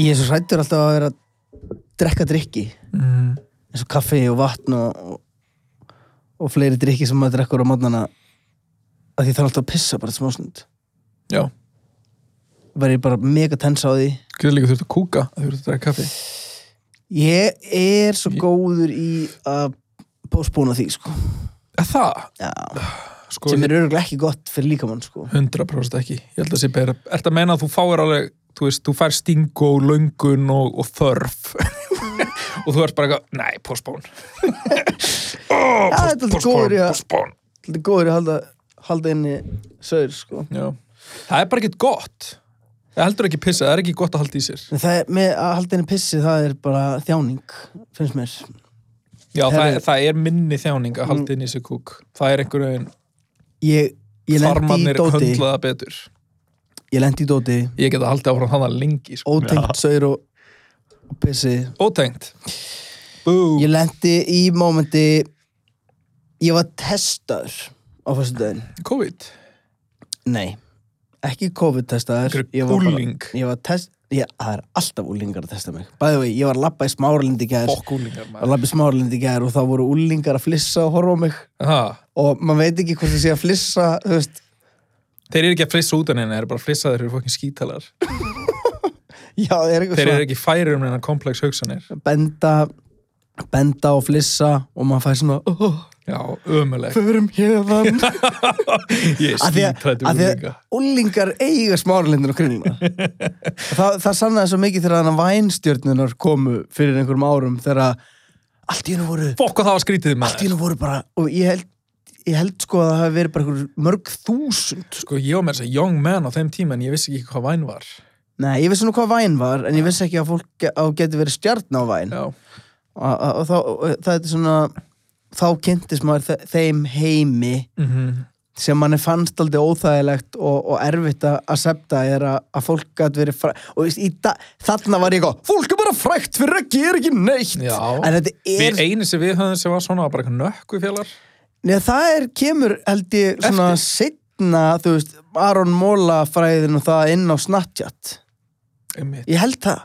Ég er svo hrættur alltaf að vera að drekka drikki mm. eins og kaffi og vatn og, og, og fleiri drikki sem maður drekkur á mótnana að því það er alltaf að pissa bara smá snund Já, verð ég bara mega tensa á því getur líka þurft að kúka að þurft að drekka kaffi ég er svo góður í að postpóna því sko Eða það, Já, sko, sem er öruglega ekki gott fyrir líkamann sko 100% ekki Ég held að sé beira, ert að meina að þú fáir alveg þú veist, þú fær sting og löngun og, og þörf og þú ert bara eitthvað, nei, postpone oh, Já, þetta er post, alltaf góður í postpone, að- postpone Þetta er góður í að halda, halda inni saur sko Já. það er bara ekkert gott það heldur ekki pissa, það er ekki gott að halda í sér En Það er, með að halda henni pissi, það er bara þjáning, finnst mér. Já, það, Herri. það er minni þjáning að halda inn í sér kúk. Það er einhvern veginn, Ég, ég lendi í farmannir dóti, höndla það betur. ég lendi í dóti, Ég geta haldið áfram þannig lengi, sko. ótengt saur og, og pissi. Ótengt. Bú. Ég lendi í mómenti, ég var testaður á fyrstu daginn. COVID. Nei, ekki COVID-testaður. Einhver Ég var bara- úling. Ég var test, ég, það er alltaf úlingar að testa mig. Bæði vegi, ég var að labba í smárlindi gær. Fokk úlingar, Að maður. labba í smárlindi gær og þá voru úlingar að flissa og horfa á mig. Ha, Og maður veit ekki hvort það sé að flissa, þú veist, þeir eru ekki að flissa út af neina, þeir eru bara að flissa þeir eru fokkin skítalar. já, það er eitthvað Þeir eru ekki færir um neina komplex hugsanir. benda benda og flissa og maður fær svona oh, Já, ömuleg. förum hérðan Ég er Af því að- skítrættur af því að úlinga. úlingar eiga smáralindin og kringluna það, það sannaði svo mikið þegar þannig vænstjörnunar komu fyrir einhverjum árum þegar allt í hennu voru Fokk og það var skrítið allt í maður. hennu voru bara og ég held, ég held sko að það hafi verið bara einhver mörg þúsund Sko, ég var með þess að young man á þeim tíma en ég vissi ekki hvað væn var. nei, ég vissi nú hvað væn var en ég vissi ekki að fólk á geti verið stjarn á væn Já. og, og, og, þá, og það er svona þá kynntist maður þe- þeim heimi Mm sem manni fannst aldrei óþægilegt og, og erfitt að accepta er að, að fólk gæti verið fræ... og veist, í da, þarna var ég góð, fólk er bara frægt fyrir að gera ekki neitt Já. en þetta er, Við einu sem við höfum sem var svona var bara eitthvað nökkufélar. Nei, það er kemur held ég svona Eftir. setna, þú veist, Aron Móla fræðin og það inn á Snapchat Einmitt. ég held það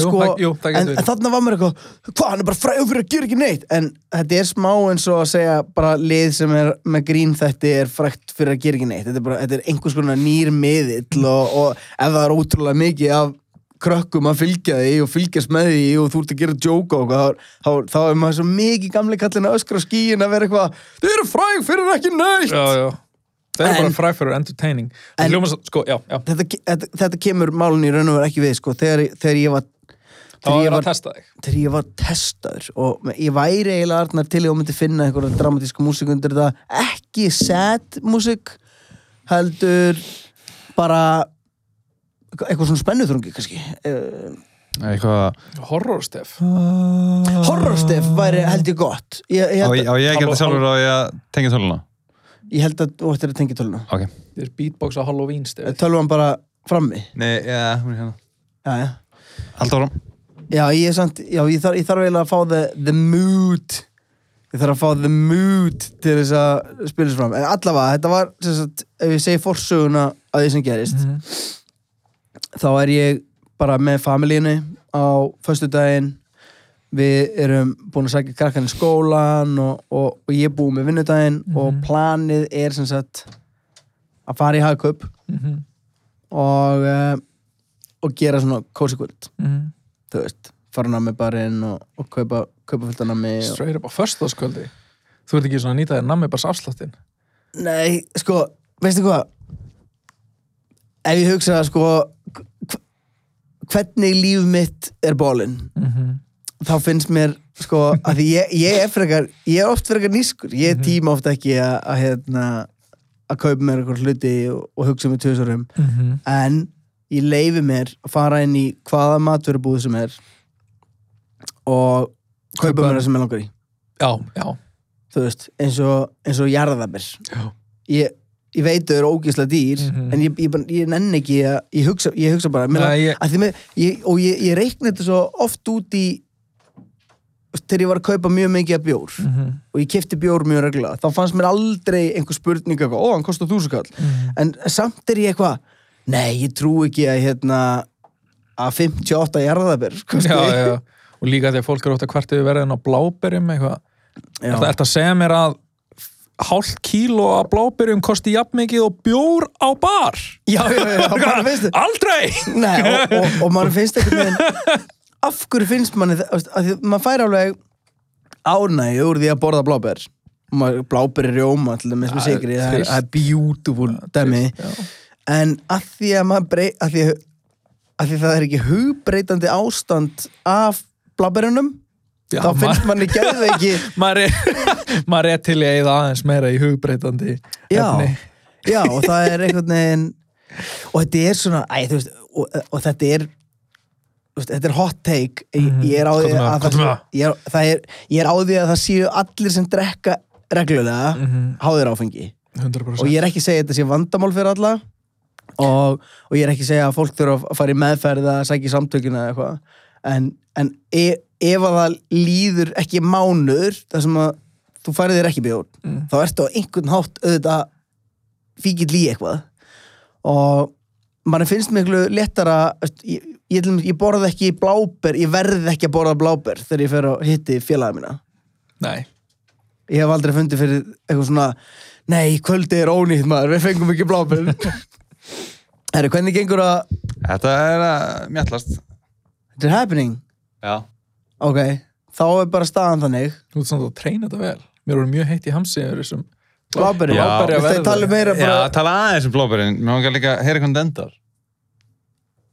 Jú, sko, það- jú, það getur en, verið. en þarna var mér eitthvað, hvað hann er bara frægur fyrir að gera ekki neitt en þetta er smá eins og að segja bara lið sem er með grín þetta er frægt fyrir að gera ekki neitt þetta er, bara, þetta er einhvers konar nýr miðill og, og ef það er ótrúlega mikið af krökkum að fylgja því og fylgjast með því og þú ert að gera djóka og hvað, þá, þá, þá er maður svo mikið gamli kallin að öskra á skíin að vera eitthvað þau eru fræg fyrir ekki neitt já, já. það er En- bara fræg fyrir entertaining en, En- hljóma, svo- sko, já, já. þetta, ke- þetta, þetta kemur málun í raun og vera ekki við sko, þegar, þegar ég var þá þegar er ég það var að testa þig þegar ég var testaður og ég væri eiginlega Arnar til ég og myndi finna einhverja dramatíska músík undir þetta ekki sad músík heldur bara eitthvað svona spennuþrungi kannski uh, Eitthvað, horrorstef Ah. horrorstef væri held ég gott ég, ég, á, held, ég- á ég að gera það sjálfur og ég að tengja töluna að- ég held að þú ættir að tengja töluna Ok þetta er beatbox á Halloween stef tölvan bara frammi Nei, já, hún er hérna já, já. Alltaf áram já ég er samt já, ég, þarf, ég þarf eiginlega að fá the, the mood ég þarf að fá the mood til þess að spila þessu fram en allavega þetta var sem sagt, ef ég segi forsöguna að því sem gerist þá er ég bara með familíinu á föstudaginn við erum búin að sækja krakkan í skólan og, og, og ég er búin með vinnudaginn og planið er sem sagt að fara í hagkaup Mhm, og, uh, og gera svona kósi kvöld, mhm. þú veist fara námi barinn og, og kaupa, kaupa fullt að námi og... straight up á förstaskvöldi þú ert ekki svona að nýta þér nammi bara afsláttin Nei, sko, veistu hvað ef ég hugsa sko hv- hvernig líf mitt er bólinn Mhm, þá finnst mér sko að því ég, ég er frekar ég er oft frekar nýskur, ég tíma oft ekki að, að hérna að kaupa mér eitthvað hluti og, og hugsa mér tjóðsórum mhm. en ég leifi mér að fara inn í hvaða matvörubúð sem er og kaupa Kaupa- mér það sem ég langar í já, já, þú veist, eins og, eins og jarðabir ég, ég veit þau eru ógeðslega dýr Mhm. en ég, ég, bara- ég nenn ekki að ég hugsa, ég hugsa bara mér, Nei, Nei, ég- ég... Með, ég, og ég, ég reikna þetta svo oft út í þegar ég var að kaupa mjög mikið af bjór Mhm. og ég kefti bjór mjög reglulega þá fannst mér aldrei einhver spurning eitthvað, ó, hann kostar þúsukall Mhm. en samt er ég eitthvað nei, ég trú ekki að hérna að 58 jarðabir já, já. og líka þegar fólk er ótt að kvartu verðin á bláberjum eitthvað já. Er þetta að segja mér að hálft kíló af blábyrjum kosti jafn mikið og bjór á bar? já, já, já, já, bara finnst Aldrei! Nei, og, og, og mann finnst einhvern veginn af hverju finnst manni það veist, af því að maður fær alveg ánægju úr því að borða bláber bláber er rjóma til dæmis með Það er sigri það er, trist. það er beautiful dæmi en að því að maður brey, að því að, að því að það er ekki hugbreytandi ástand af bláberunum Já, þá finnst manni geðveiki Maður er, maður er til í að eða aðeins meira í hugbreytandi já, efni. já, og það er einhvern veginn og þetta er svona æ, þú veist, og, og þetta er þú veist, þetta er hot take ég, ég er á því Mhm. Komdu með það, að komdu það, með það. ég, er, það er, ég er á því að það séu allir sem drekka reglulega Mhm. háðir áfengi 100%. og ég er ekki að segja að þetta sé vandamál fyrir alla og, og ég er ekki að segja að fólk þurfa að fara í meðferð að sækja í samtökina eða eitthvað en, en e, ef að það líður ekki mánuður þar sem að þú færið þér ekki bjór Mm. þá ertu á einhvern hátt auðvitað fíkill í eitthvað og mann finnst miklu lettara veist, ég, ég, til dæmis- ég borða ekki bláber ég verð ekki að borða bláber þegar ég fer og hitti félaga mína Nei. ég hef aldrei fundið fyrir eitthvað svona nei, kvöldi er ónýtt maður, við fengum ekki blábjörn Herru, hvernig gengur að Þetta er eh, að mjallast. þetta er happening, Já. ok þá er bara staðan þannig Þú ert samt að treyna þetta vel. Mér voru mjög heitt í hamsi yfir þessum. blábjörn, Já. þetta tala meira Já, bara, tala aðeins um blóberinn. Mér langar líka að heyra hvernig þetta endar.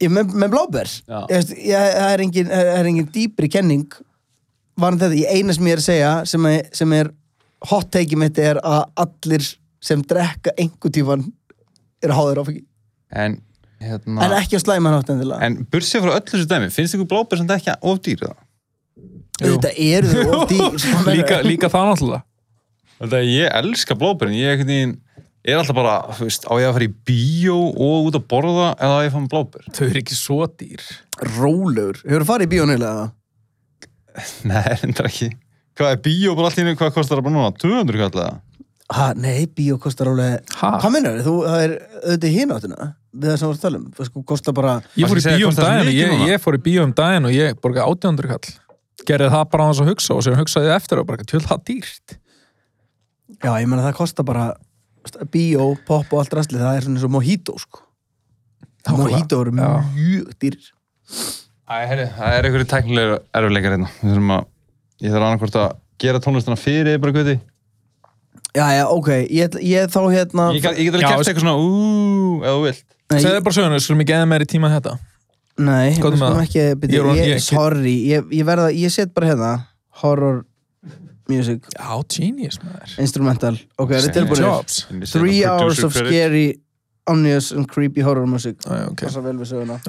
ég, með, með blábjörn Já. Ég veist, ég- það er engin, það er engin dýpri kenning varðan þetta, ég eina sem ég er að segja sem er, sem er hot take mitt er að allir sem drekka einhver tífan eru háður áfengi, En, hérna... en ekki á slæman átt endilega, En bursið frá öllu þessu dæmi, finnst ykkur blóbær sem þetta ekki of dýr það? Jú. þetta eru þau of dýr líka, líka það náttúrulega. Þetta er ég elska blóbærin, ég einhvern veginn er alltaf bara, þú veist, á ég að fara í bíó og út að borða eða á ég að fara með blóbær? Þau eru ekki svo dýr. rólegur Hefur þú farið í bíónulega? Nei, reyndar ekki. Hvað er bíó bara allt í hennu, hvað kostar það bara núna? 200 kall eða? Ha, nei, bíó kostar rólega Ha? Hvað minnur þú? Það er auðvitað hinn áttuna við það sem við tölum Þú sko, kostar bara Ég fór Varstu í að segja bíó um hvort það er daginn og mikið ég, núna? ég fór í bíó um daginn og ég borgaði 800 kall. Gerði það bara á þess að hugsa og sem hugsaði eftir og bara tjöld það dýrt. Já, ég meina það kostar bara st- bíó, popp og allt rastli það er svona eins og mojito sko Nákvæmlega. Mojito eru Já. mjög dýr Æ, herri, það er einhverju tæknilegur erfileikar hérna. Við þurfum að, ég þarf annarkvort að gera tónlistina fyrir bara guði. Já, já, ok, ég, ætla- ég þá hérna Ég get, ég get alveg Já, kæft eitthvað svona, úúú, eða þú vilt. Nei, Segðu bara söguna, við skulum ekki eða meiri tíma en þetta. Nei, við Skoðum skulum það. ekki byrja, Ég er ég, orðin- ég, ég- Sorry, ég, ég verða, ég set bara hérna Horror music Já, genius maður. instrumental Ok, er Same þetta tilbúinir? Jobs. Three hérna hours of scary, ominous and creepy horror music Æ, ok. Passa vel við söguna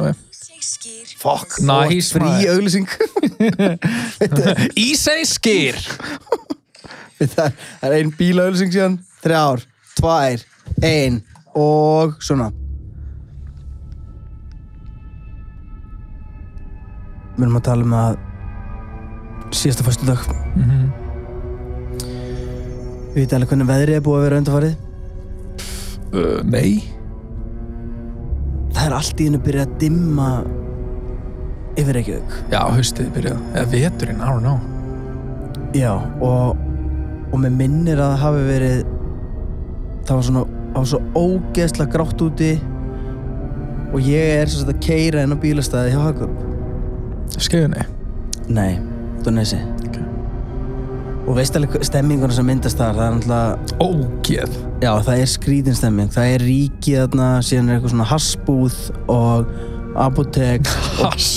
Fuck, nice Frí maður. auglýsing Ísei skýr. Það er ein bílaauglýsing síðan Þrjár, tvær, ein Og svona Við erum að tala um að Síðasta fyrstu dag Við veitum alveg hvernig veðrið er búið að vera undarfarið Uh, nei. Það er allt í hennu byrjað að dimma Yfir Reykjavík Já, haustið byrjað. Eða veturinn, I don't know. Já, og, og mér minnir að það hafi verið það var svona, það var svo ógeðslega grátt úti og ég er sem sagt að keira inn á bílastæði hjá Hagum. Skeiðinni. Nei, þetta er nesi. Ok. Og veist alveg hver- stemminguna sem myndast þar, það er náttúrulega, Ógeð. já það er skrítin stemming, það er ríkið þarna, síðan er eitthvað svona hassbúð og apotek og, Hass.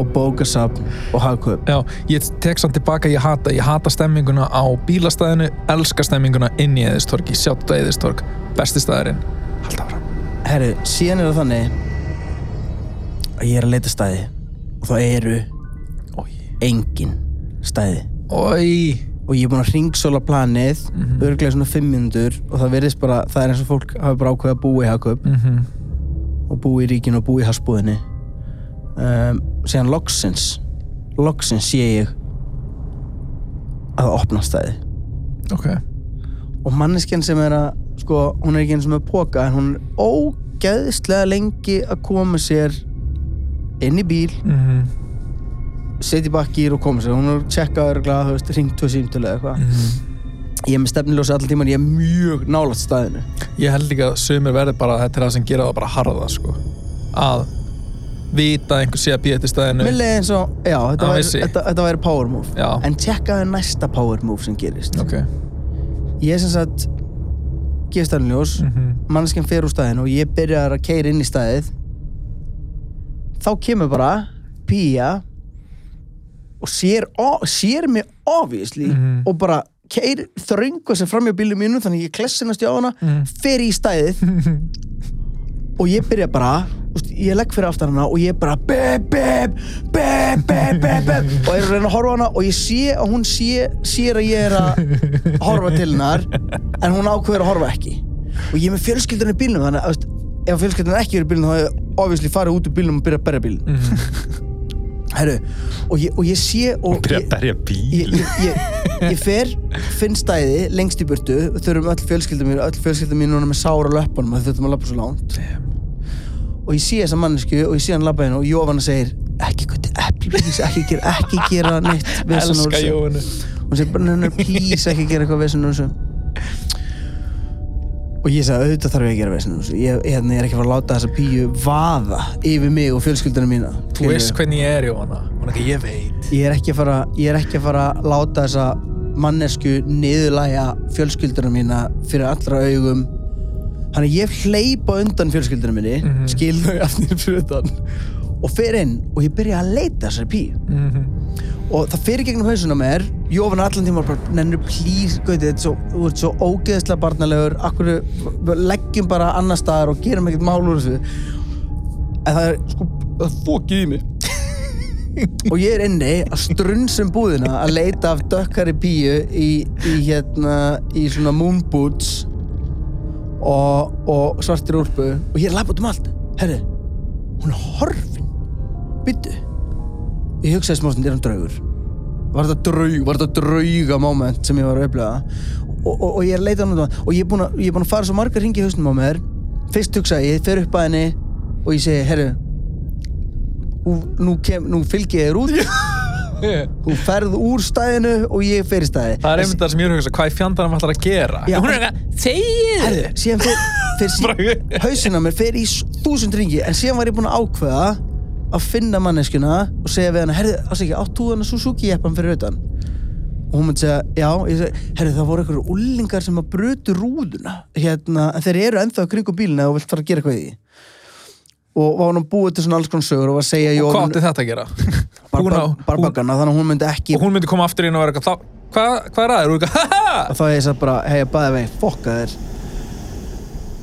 og bókasafn og Hagum. Já, ég tek samt tilbaka, ég hata, ég hata stemminguna á bílastæðinu, elska stemminguna inn í eðistorki, sjáttu eðistork, besti staðurinn, halda ára. Herru, síðan er það þannig að ég er að leita stæði og það eru Ói. engin stæði Ói. og ég er búin að ringsóla planið mm Mhm. örglega svona 5 mínútur og það verðist bara, það er eins og fólk hafi bara ákveðið að búa í Hagkaup Mhm. og búa í ríkinu og búa í hasbúðinni um, síðan loksins loksins sé ég að það opnast það Ok. og manneskjan sem er að sko, hún er ekki eins og með póka en hún er ógeðslega lengi að koma sér inn í bíl Mhm. setja í bakkýr og koma sér hún er tjekkað örglega, þú veist, ringt og símtölu eða eitthvað Mhm. ég er með stefniljósi allan tíman, ég er mjög nálægt staðinu Ég held líka að sömur verði bara þetta er það sem gera það bara harða sko. að vita að einhver sé að býja til staðinu mér leiði eins og, já, þetta Hann væri, vissi. þetta, þetta væri power move Já. en tjekkaðu næsta power move sem gerist Ok. ég er sem sagt gefið stefniljós, mm. Mhm. manneskjan fer úr staðinu og ég byrjar að keira inn í staðið þá kemur bara Pía og sér, o- sér mig obviously Mhm. og bara keir þröngu sem framjá bílum mínum þannig ég klessinast á hana Mhm. fer í stæðið og ég byrja bara úst, ég legg fyrir aftan hana og ég bara beb, beb, beb, beb, beb, beb og ég er að reyna að horfa á hana og ég sé að hún sé, sér að ég er að horfa til hennar en hún ákveður að horfa ekki og ég er með fjölskyldan í bílnum þannig að veist, ef fjölskyldan ekki verið í bílnum þá hefur obviously farið út úr bílnum og byrjað að berja bílnum Mhm. Herru, og ég, og ég sé og Byrja ég- að berja ég, bíl. ég, ég, ég fer finn stæði lengst í burtu þurfum öll fjölskylda mín öll fjölskylda mín núna með sára löpunum að þurfum að lappa svo langt og ég sé þessa mannesku og ég sé hann lappa henn og Jóvanna segir ekki gutti, ekki, please, ekki, gera, ekki gera neitt vesen úr Elska þessu." Jóhannu. hún segir bara hennar please ekki gera eitthvað vesen úr þessu og ég sagði auðvitað þarf ég að gera vesen úr þessu ég, hérna, ég, ég er ekki að fara að láta þessa píu vaða yfir mig og fjölskyldunum mína Þú veist hvernig ég er Jóhanna Hún er ekki ég veit ég er ekki að fara ég er ekki að fara að láta þessa mannesku niðurlæja fjölskyldurinn mína fyrir allra augum þannig að ég hleypa undan fjölskyldurinn minni mm Mhm. -hmm. skil þau aftur fyrir utan og fer inn og ég byrja að leita að þessari píu mm -hmm. og það fyrir gegnum hausuna mér Jófan allan tíma bara, nennir please gauti, þetta er svo, þú ert svo ógeðslega barnalegur akkur við leggjum bara annar staðar og gerum ekkert mál úr þessu en það er sko það fókið í mig og ég er inni að strunnsum búðina að leita af dökkari píu í, í hérna í svona moon boots og, og svartir úlpu og ég er lapp út um allt herri, hún er horfin byttu ég hugsaði smá stund, er hann draugur var þetta draug, var þetta drauga moment sem ég var að upplifa og, og, og ég er að leita hann út um allt. og ég er búinn að- ég er búin að fara svo margar hringi í hausnum á mér fyrst hugsaði, ég, ég fer upp að henni og ég segi, herru nú, kem, nú fylgi ég þér út þú ferð úr stæðinu og ég fer í stæði Það er einmitt það sem ég er að hugsa Hvað í fjandanum ætlar að gera Já. Hún er eitthvað Þegið Herðu, síðan fer, fer sí, Bara- hausinn á mér fer í s- þúsund ringi en síðan var ég búinn að ákveða að finna manneskuna og segja við hana herðu, ásækja, áttu hana Suzuki jeppan fyrir utan og hún myndi segja, já ég segi, herðu, það voru einhverju ullingar sem að brutu rúðuna hérna, en þeir eru ennþá í kringum bílina og vilt fara að gera eitthvað í því og var hún að búa til svona alls konar sögur og var að segja Og hvað Jóhann- átti þetta að gera Hún á barba- hún- barbakana, þannig að hún myndi ekki Og hún myndi koma aftur inn og vera eitthvað "Þá- Hvað hvað er aðeins? Hún er eitthvað "Haha." og þá hef ég sagt bara, hei, bæði veginn, fokka þér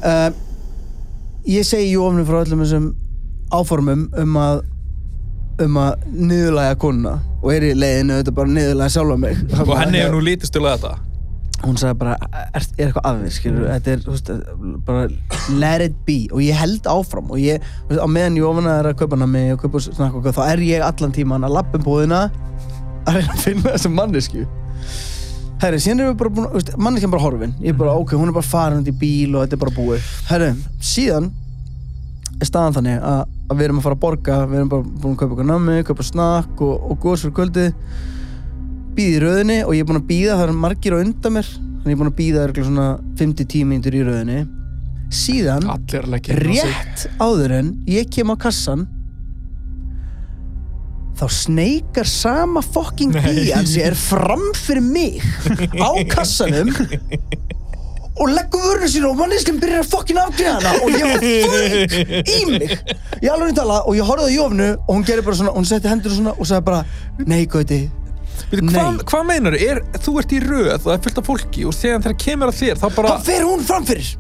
uh, ég segi jú ofnum frá öllum þessum áformum um að um að niðurlæga konuna og er í leiðinu þetta bara að niðurlæga sjálfa mig Og henni hefur nú lítist til þetta hún sagði bara, er, er eitthvað aðeins skilur, þetta er, þú veist, bara let it be og ég held áfram og ég, þú veist, á meðan Jófana er að kaupa hana mig og kaupa snakka og þá er ég allan tíman að lappa um búðina að reyna að finna þessa mannesku herri, síðan erum við bara búin, þú veist, manneskjan bara horfin ég er bara, ok, hún er bara farin út í bíl og þetta er bara búið herri, síðan er staðan þannig að, að við erum að fara að borga við erum bara búin að kaupa eitthvað nammi, kaupa snakk og, og góðs fyrir kvöldið býð í röðinni og ég er búin að býða það er margir á undan mér þannig ég er búin að býða örgulega svona 50-10 mínútur í röðinni síðan Allir er að leggja inn á sig. Mm. rétt áður en ég kem á kassan þá sneikar sama fokking Nei. bíjan sér fram fyrir mig á kassanum og leggur vörðu sín og manneskinn byrjar að fokkin afgriða hana og ég var þung í mig ég alveg niður tala og ég horfði á Jófnu og hún gerir bara svona, hún setti hendur svona og sagði bara nei gauti, Bíddu, Nei. Hvað hvað meinar er, þú ert í röð og það er fullt af fólki og þegar þegar kemur að þér þá bara þá fer hún framfyrir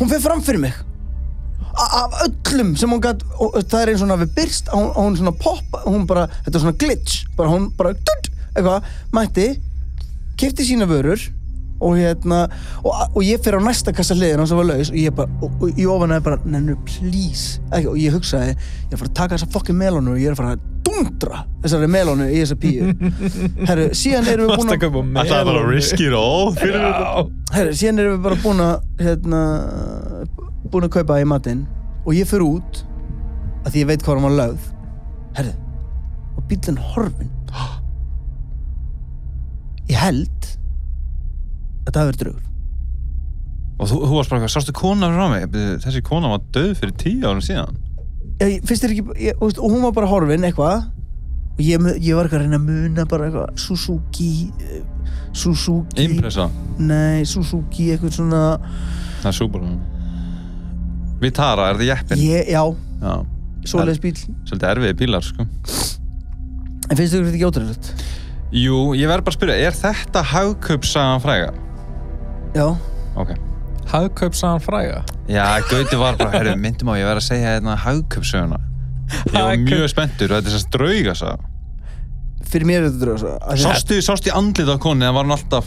hún fer framfyrir mig A af öllum sem hún gætt og það er eins og hún hafi byrst hún, hún svona poppa, hún bara, þetta er svona glitch bara hún bara, dutt, eitthvað, mætti kefti sína vörur og hérna og, og ég fyrir á næsta kassa hliðina sem var laus og ég bara, og, og ég ofanaði bara nennu, please, ekki, og ég hugsaði ég er að fara að taka þessa fokkin melónu og ég er að fara að dundra þessari melónu í þessa píu herru, síðan erum við búin Varst að að kaupa með Alltaf bara risky it all fyrir þetta. Já, Herri, síðan erum við bara búin að hérna, búin að kaupa í matinn og ég fyrir út að því ég veit hvað hann var lögð Herri, og bílinn horfin Ég held að það verður draugur Og þú, þú varst bara, eitthvað, sástu kona frá mig? Bíddu, Þessi kona var döð fyrir tíu árum síðan. ég, Fyrst er ekki, ég, þú veist, og hún var bara horfin eitthvað og ég, mu- ég var ekki að reyna að muna bara eitthvað Suzuki eh, Suzuki Impressa. Nei, Suzuki, eitthvað svona Það er Subaru. Vitara, er það jeppin? ég, Já, Já. svoleiðis bíl Svolítið erfiði bílar, sko. En finnst þau ekki ótrúlegt? Jú, ég verð bara að spyrja, er þetta hagkaupsagan fræga? Já Ok. hagkaupsagan fræga Já, Gauti var bara, herru, myndum á, ég verð að segja hérna hagkaupsöguna. Ég var Hagkaup- mjög spenntur og þetta er þess að drauga sá. fyrir mér er þetta draugasaga Af því Sástu, sástu í andlit á konu, það var hún alltaf,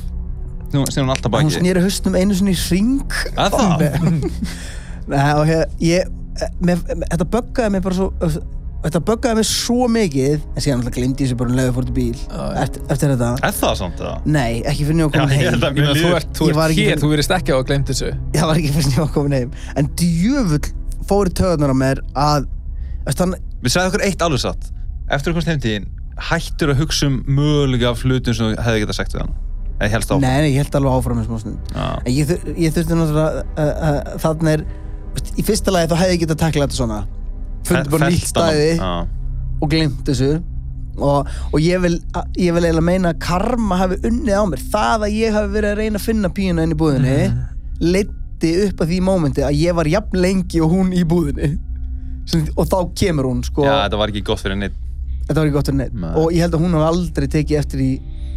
nú snýr hún alltaf að hún baki. snýri haustum einu sinni í ring Að það? Nei, og hér, ég með, með, þetta böggaði mig bara svo þetta böggaði mig svo mikið en síðan alltaf glemdi ég sér bara um leiði fór til bíl já. eftir, eftir þetta Er það samt eða? Nei, ekki fyrir njóð að Já, koma ég heim held að Ég meina, mér þú líður. ert, þú Ég var ert ekki hér, fyrir- þú verist ekki á að glemt þessu Það var ekki fyrir njóð að koma heim en djöfull fóru töðunar á mér að veist, hann, Við sagði okkur eitt alveg satt. Eftir að komst heimtíðin, hættur að hugsa um mögulega af hlutum sem þú hefði getað sagt við hana. Eða helst á. Nei, nei, ég held alveg áfram eins og stund Já. En ég, þur- ég þurfti náttúrulega uh, uh, þannig er veist, í fyrsta lagi þá hefði ég getað taklað þetta svona fundi bara nýtt stæði og glimt þessu og, og ég, vil, ég vil eiginlega meina að karma hafi unnið á mér það að ég hafi verið að reyna að finna píuna inn í búðinni mm. Mhm. upp að því mómenti að ég var jafn lengi og hún í búðinni Sem, og þá kemur hún sko, Já, þetta var ekki gott fyrir neitt. þetta var ekki gott fyrir neitt Nei. og ég held að hún hafi aldrei tekið eftir í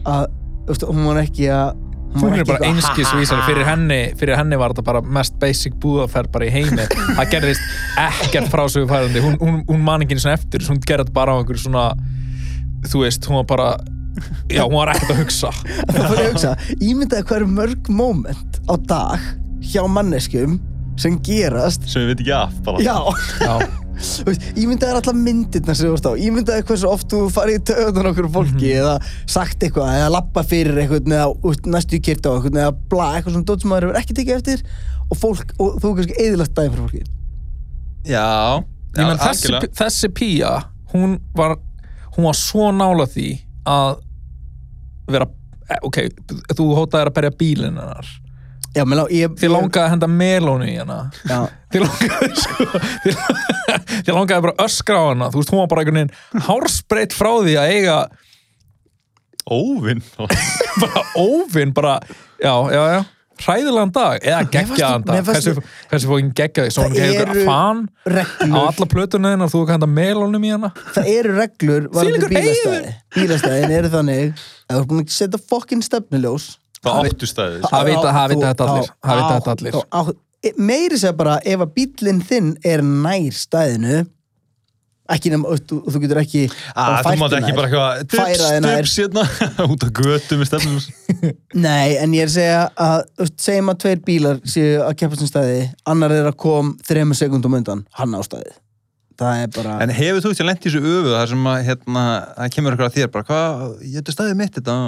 að veist, hún var ekki að hún Þú var er ekki bara eitthvað, einskisvísari fyrir henni fyrir henni var þetta bara mest basic búðaferð bara í heimi, það gerðist ekkert frásögufærandi, hún, hún, hún man ekki einu sinni eftir, hún gerði þetta bara á einhverju svona þú veist, hún var bara já, hún var ekkert að hugsa þá fór ég að hugsa, ímyndaði hvað eru mörg moment á dag hjá manneskum sem gerast Sem við veit ekki af bara. já já, Þú veist, ímyndaði alltaf myndirna sem þú vorst á ímyndaði hversu oft þú farið í töðan okkur fólki Mhm. eða sagt eitthvað eða lappa fyrir eitthvað eða út næstu í kyrta á eitthvað eða bla eitthvað svona dót sem maður hefur ekki tekið eftir og fólk og þú kannski eðilagt daginn fyrir fólki Já. ég menn þessi, algjörlega. þessi pía hún var, hún var svo nála því að vera, eh, ok, þú hótaðir að berja bílinn hennar, já, menn á ég þið langaði að henda melónu í hennar já, Þið langaði sko Þið þið langaði bara að öskra á hana Þú veist, hún var bara einhvern veginn hársbreytt frá því að eiga Óvinn. bara óvinn, bara, já, já, já hræðilegan dag, eða geggjaðan mér dag fannst- hversu, hversu fókin geggja því, svo hún Það hefur eru- þetta fan á reglur alla plötuna þínar, þú hefur hægt að melónum í hana það eru reglur varandi Þvílíkur bílastæði bílastæðin eru þannig að þú er búin að setja fokkin stefnuljós Það áttu stæðið. sko. Það vita- þá- það þú- vita þetta allir. þá- Það vita á- þetta allir. þá á- e- meiri segja bara ef að bíllinn þinn er nær stæðinu ekki nema, þú, þú þú getur ekki Ah, þú mátt ekki bara eitthvað Færa dips, þig nær. dips hérna út á götu með stefnum nei, en ég er að segja að þú veist, segjum að tveir bílar séu að keppa sem stæði annar er að kom þremur sekundum undan hann á stæði það er bara En hefur þú ekki lent í þessu öfuð þar sem að hérna, það kemur ykkur að þér bara, hvað, ég þetta er stæðið mitt þetta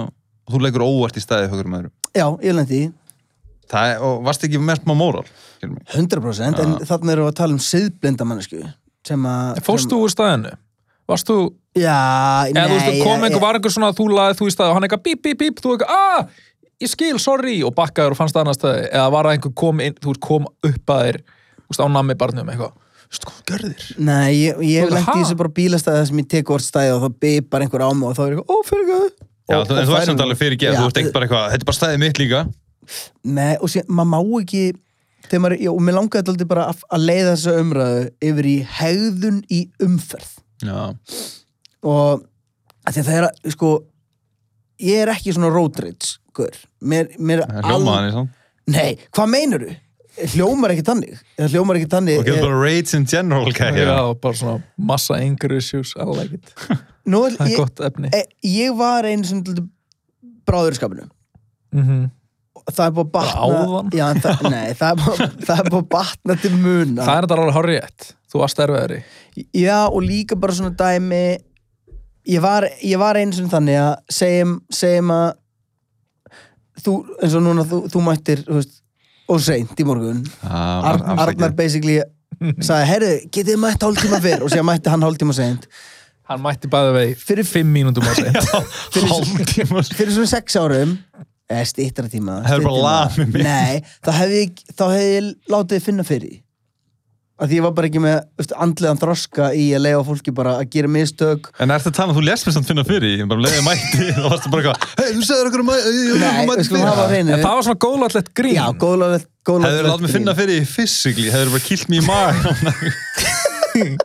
og þú leikur óvart í stæðið fyrir maður já, ég lendi í Það er, og varst ekki mest maður móral skilur mig. 100% Ah. en þarna erum við að tala um siðblinda mannesku sem að Fórstu úr staðinu? Varst þú, sem, já, eða þú veist, nei, kom ég- einhver, var einhver svona að þú laðið þú í staði og hann eitthvað bíp, bíp, bíp, þú eitthvað, aah ég skil, sorry, og bakkaður og fannst annað staði eða var það einhver kom inn, þú veist, kom upp að þér, þú veist, á nami barnum eitthvað, veistu Sko, hvað þú gerðir? Nei, ég, ég hef Þú- lengt ha? í þessu bara bílastæði þar sem ég tek orð stæði og þá bipar einhver á mig og þá er ég eitthvað, ó, fyrir ekki Já, þú, en þú ert samt alveg fyrir geð, þú ert ekki bara eitthvað þetta er bara stæðið mitt líka eh, Nei, og sér, maður má ekki þegar maður, já, og mér langaði alltaf bara að, að leiða þessa umræðu yfir í hegðun í umferð Já, og að því að það er að, sko ég er ekki svona road rage, guður mér, mér það er hljómaðan í svona Nei, hvað meinur þú? Hljómar ekki tannig eða hljómar ekki tannig Og getur eh, bara raids in general Já, kæja bara svona massa anger issues, I like it. nú er- Það er ég- gott efni. e, ég var einu sem lítið bráður í skapinu mm -hmm. það er búið að batna Áðan? já, en það, nei, það er búið, það er búið að batna til muna Það er þetta alveg horrið Þú varst erfiðari já og líka bara svona dæmi ég var, ég var eins og þannig að segjum, segjum að þú, eins og núna þú, þú mættir þú veist, og seint í morgun Ah, Ar Arnar basically sagði, herru, getið þið mætt hálftíma fyrr og sér mætti hann hálftíma seint Hann mætti bæði vegi Fyrir- fyrir 5 mínútum á sig Hálftíma sko. fyrir svona sex árum eða stýttara tíma Hefði styttra bara lamið tíma. mig. Nei, þá hefði ég, þá hefði ég látið þið finna fyrir því. að því ég var bara ekki með veist, andlegan þroska í að leiða fólki bara að gera mistök En er þetta að tala, þú lest mér samt finna fyrir Ég bara leiði mætti og varstu bara eitthvað Hei, þú segður okkur um mætti Nei, við skulum hafa á En hreinu það var svona góðlætlegt grín Já, góðlega Hefur þú látið mér finna fyrir fysikli Hefur þú bara kilt mér í maður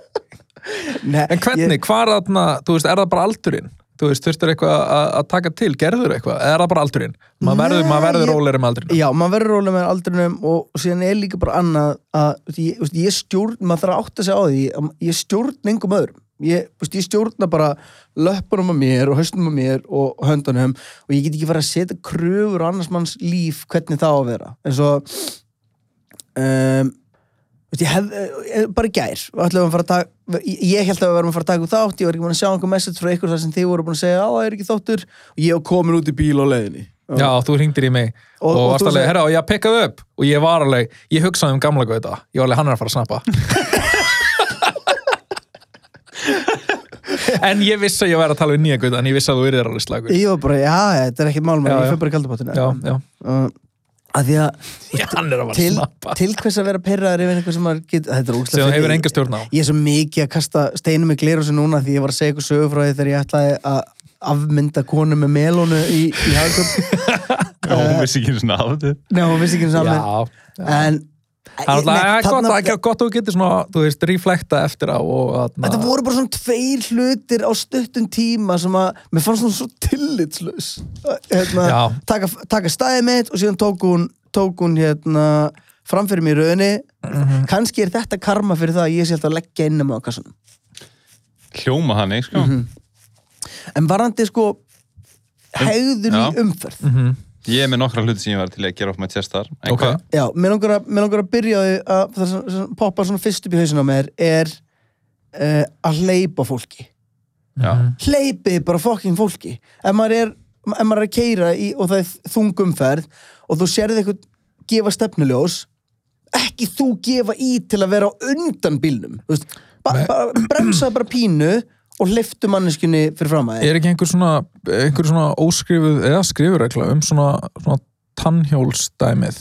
Nei, En hvernig, hvað er þarna, þú veist, er það bara aldurinn? Þú veist, þurftur eitthvað að- að taka til, gerður eitthvað, eða er það bara aldurinn? Maður verður, Nei, maður verður ég- rólegri með aldurinn. Já, maður verður rólega með aldrinum og, og síðan er líka bara annað að þú veist, ég, þú veist, ég stjórn, maður þarf að átta sig á því að ég stjórn engum öðrum ég, þú veist, ég stjórna bara löppunum að mér og haustunum að mér og höndunum og ég get ekki fara að setja kröfur á annars manns líf hvernig það á að vera eins og um, þú veist, ég hef, eh, bara í gær ætlaðum að fara að taka, ég- ég held að við verðum að fara að taka upp þátt, ég var ekki búin að sjá einhver message frá ykkur þar sem þið voru búin að segja, á, það er ekki þáttur og ég var komin út í bíl á leiðinni Já, þú hringdir í mig Og- og, og varst þú alveg, segir- herra, og ég pekkaði upp og ég var alveg, ég hugsaði um gamla gauta ég var alveg, hann er að fara að snappa En ég vissi að ég væri að tala um nýja gauta en ég vissi að þú yrðir alveg slagur Já, Ég var bara, já, þetta er ekkert málmæl, Já, ég já. fyrir bara í kaldabáttina. já, Uh, að því að já hann er að fara til, að snappa til hvers að vera perraður yfir einhver sem maður get, þetta er sem ógstlega þú hefur enga stjórn á Ég er svo mikið að kasta steinum í glerosu núna því ég var að segja ykkur sögur frá því þegar ég ætlaði að afmynda konu með melónu í, í hagum. Hún Eh. vissi ekki einu svona af þetta Nei, hún vissi ekki um Já, saman. En... það er Nei, alltaf gott, þarna- að- gott að þú getur svona, þú veist, reflekta eftir á og þarna- Þetta voru bara svona tveir hlutir á stuttum tíma sem að mér fannst hún svo tillitslaus hérna, Já. taka, taka stæðið mitt og síðan tók hún, tók hún hérna, framfyrir mér í rauninni kannski er þetta karma fyrir það að ég sé alltaf að leggja inn um á kassanum Hljóma hann, ekki sko Mhm. en varandi sko hegðun í já. umferð Mhm. Ég er með nokkra hluti sem ég var til að gera upp með testar Ok. Já, mér langar að, mér langar að byrja á því að það sem, sem poppar svona fyrst upp í hausinn á mér er uh, að hleypa fólki Mhm. Já, hleypið bara fokkin fólki ef maður er, ef maður er að keira í, og það er þungumferð og þú sérði eitthvað gefa stefnuljós ekki þú gefa í til að vera á undan bílnum Þú veist, ba ba bremsa bara pínu og hleyftu manneskunni fyrir fram að þér er ekki einhver svona, einhver svona óskrifuð eða skrifuregla um svona, svona tannhjólsdæmið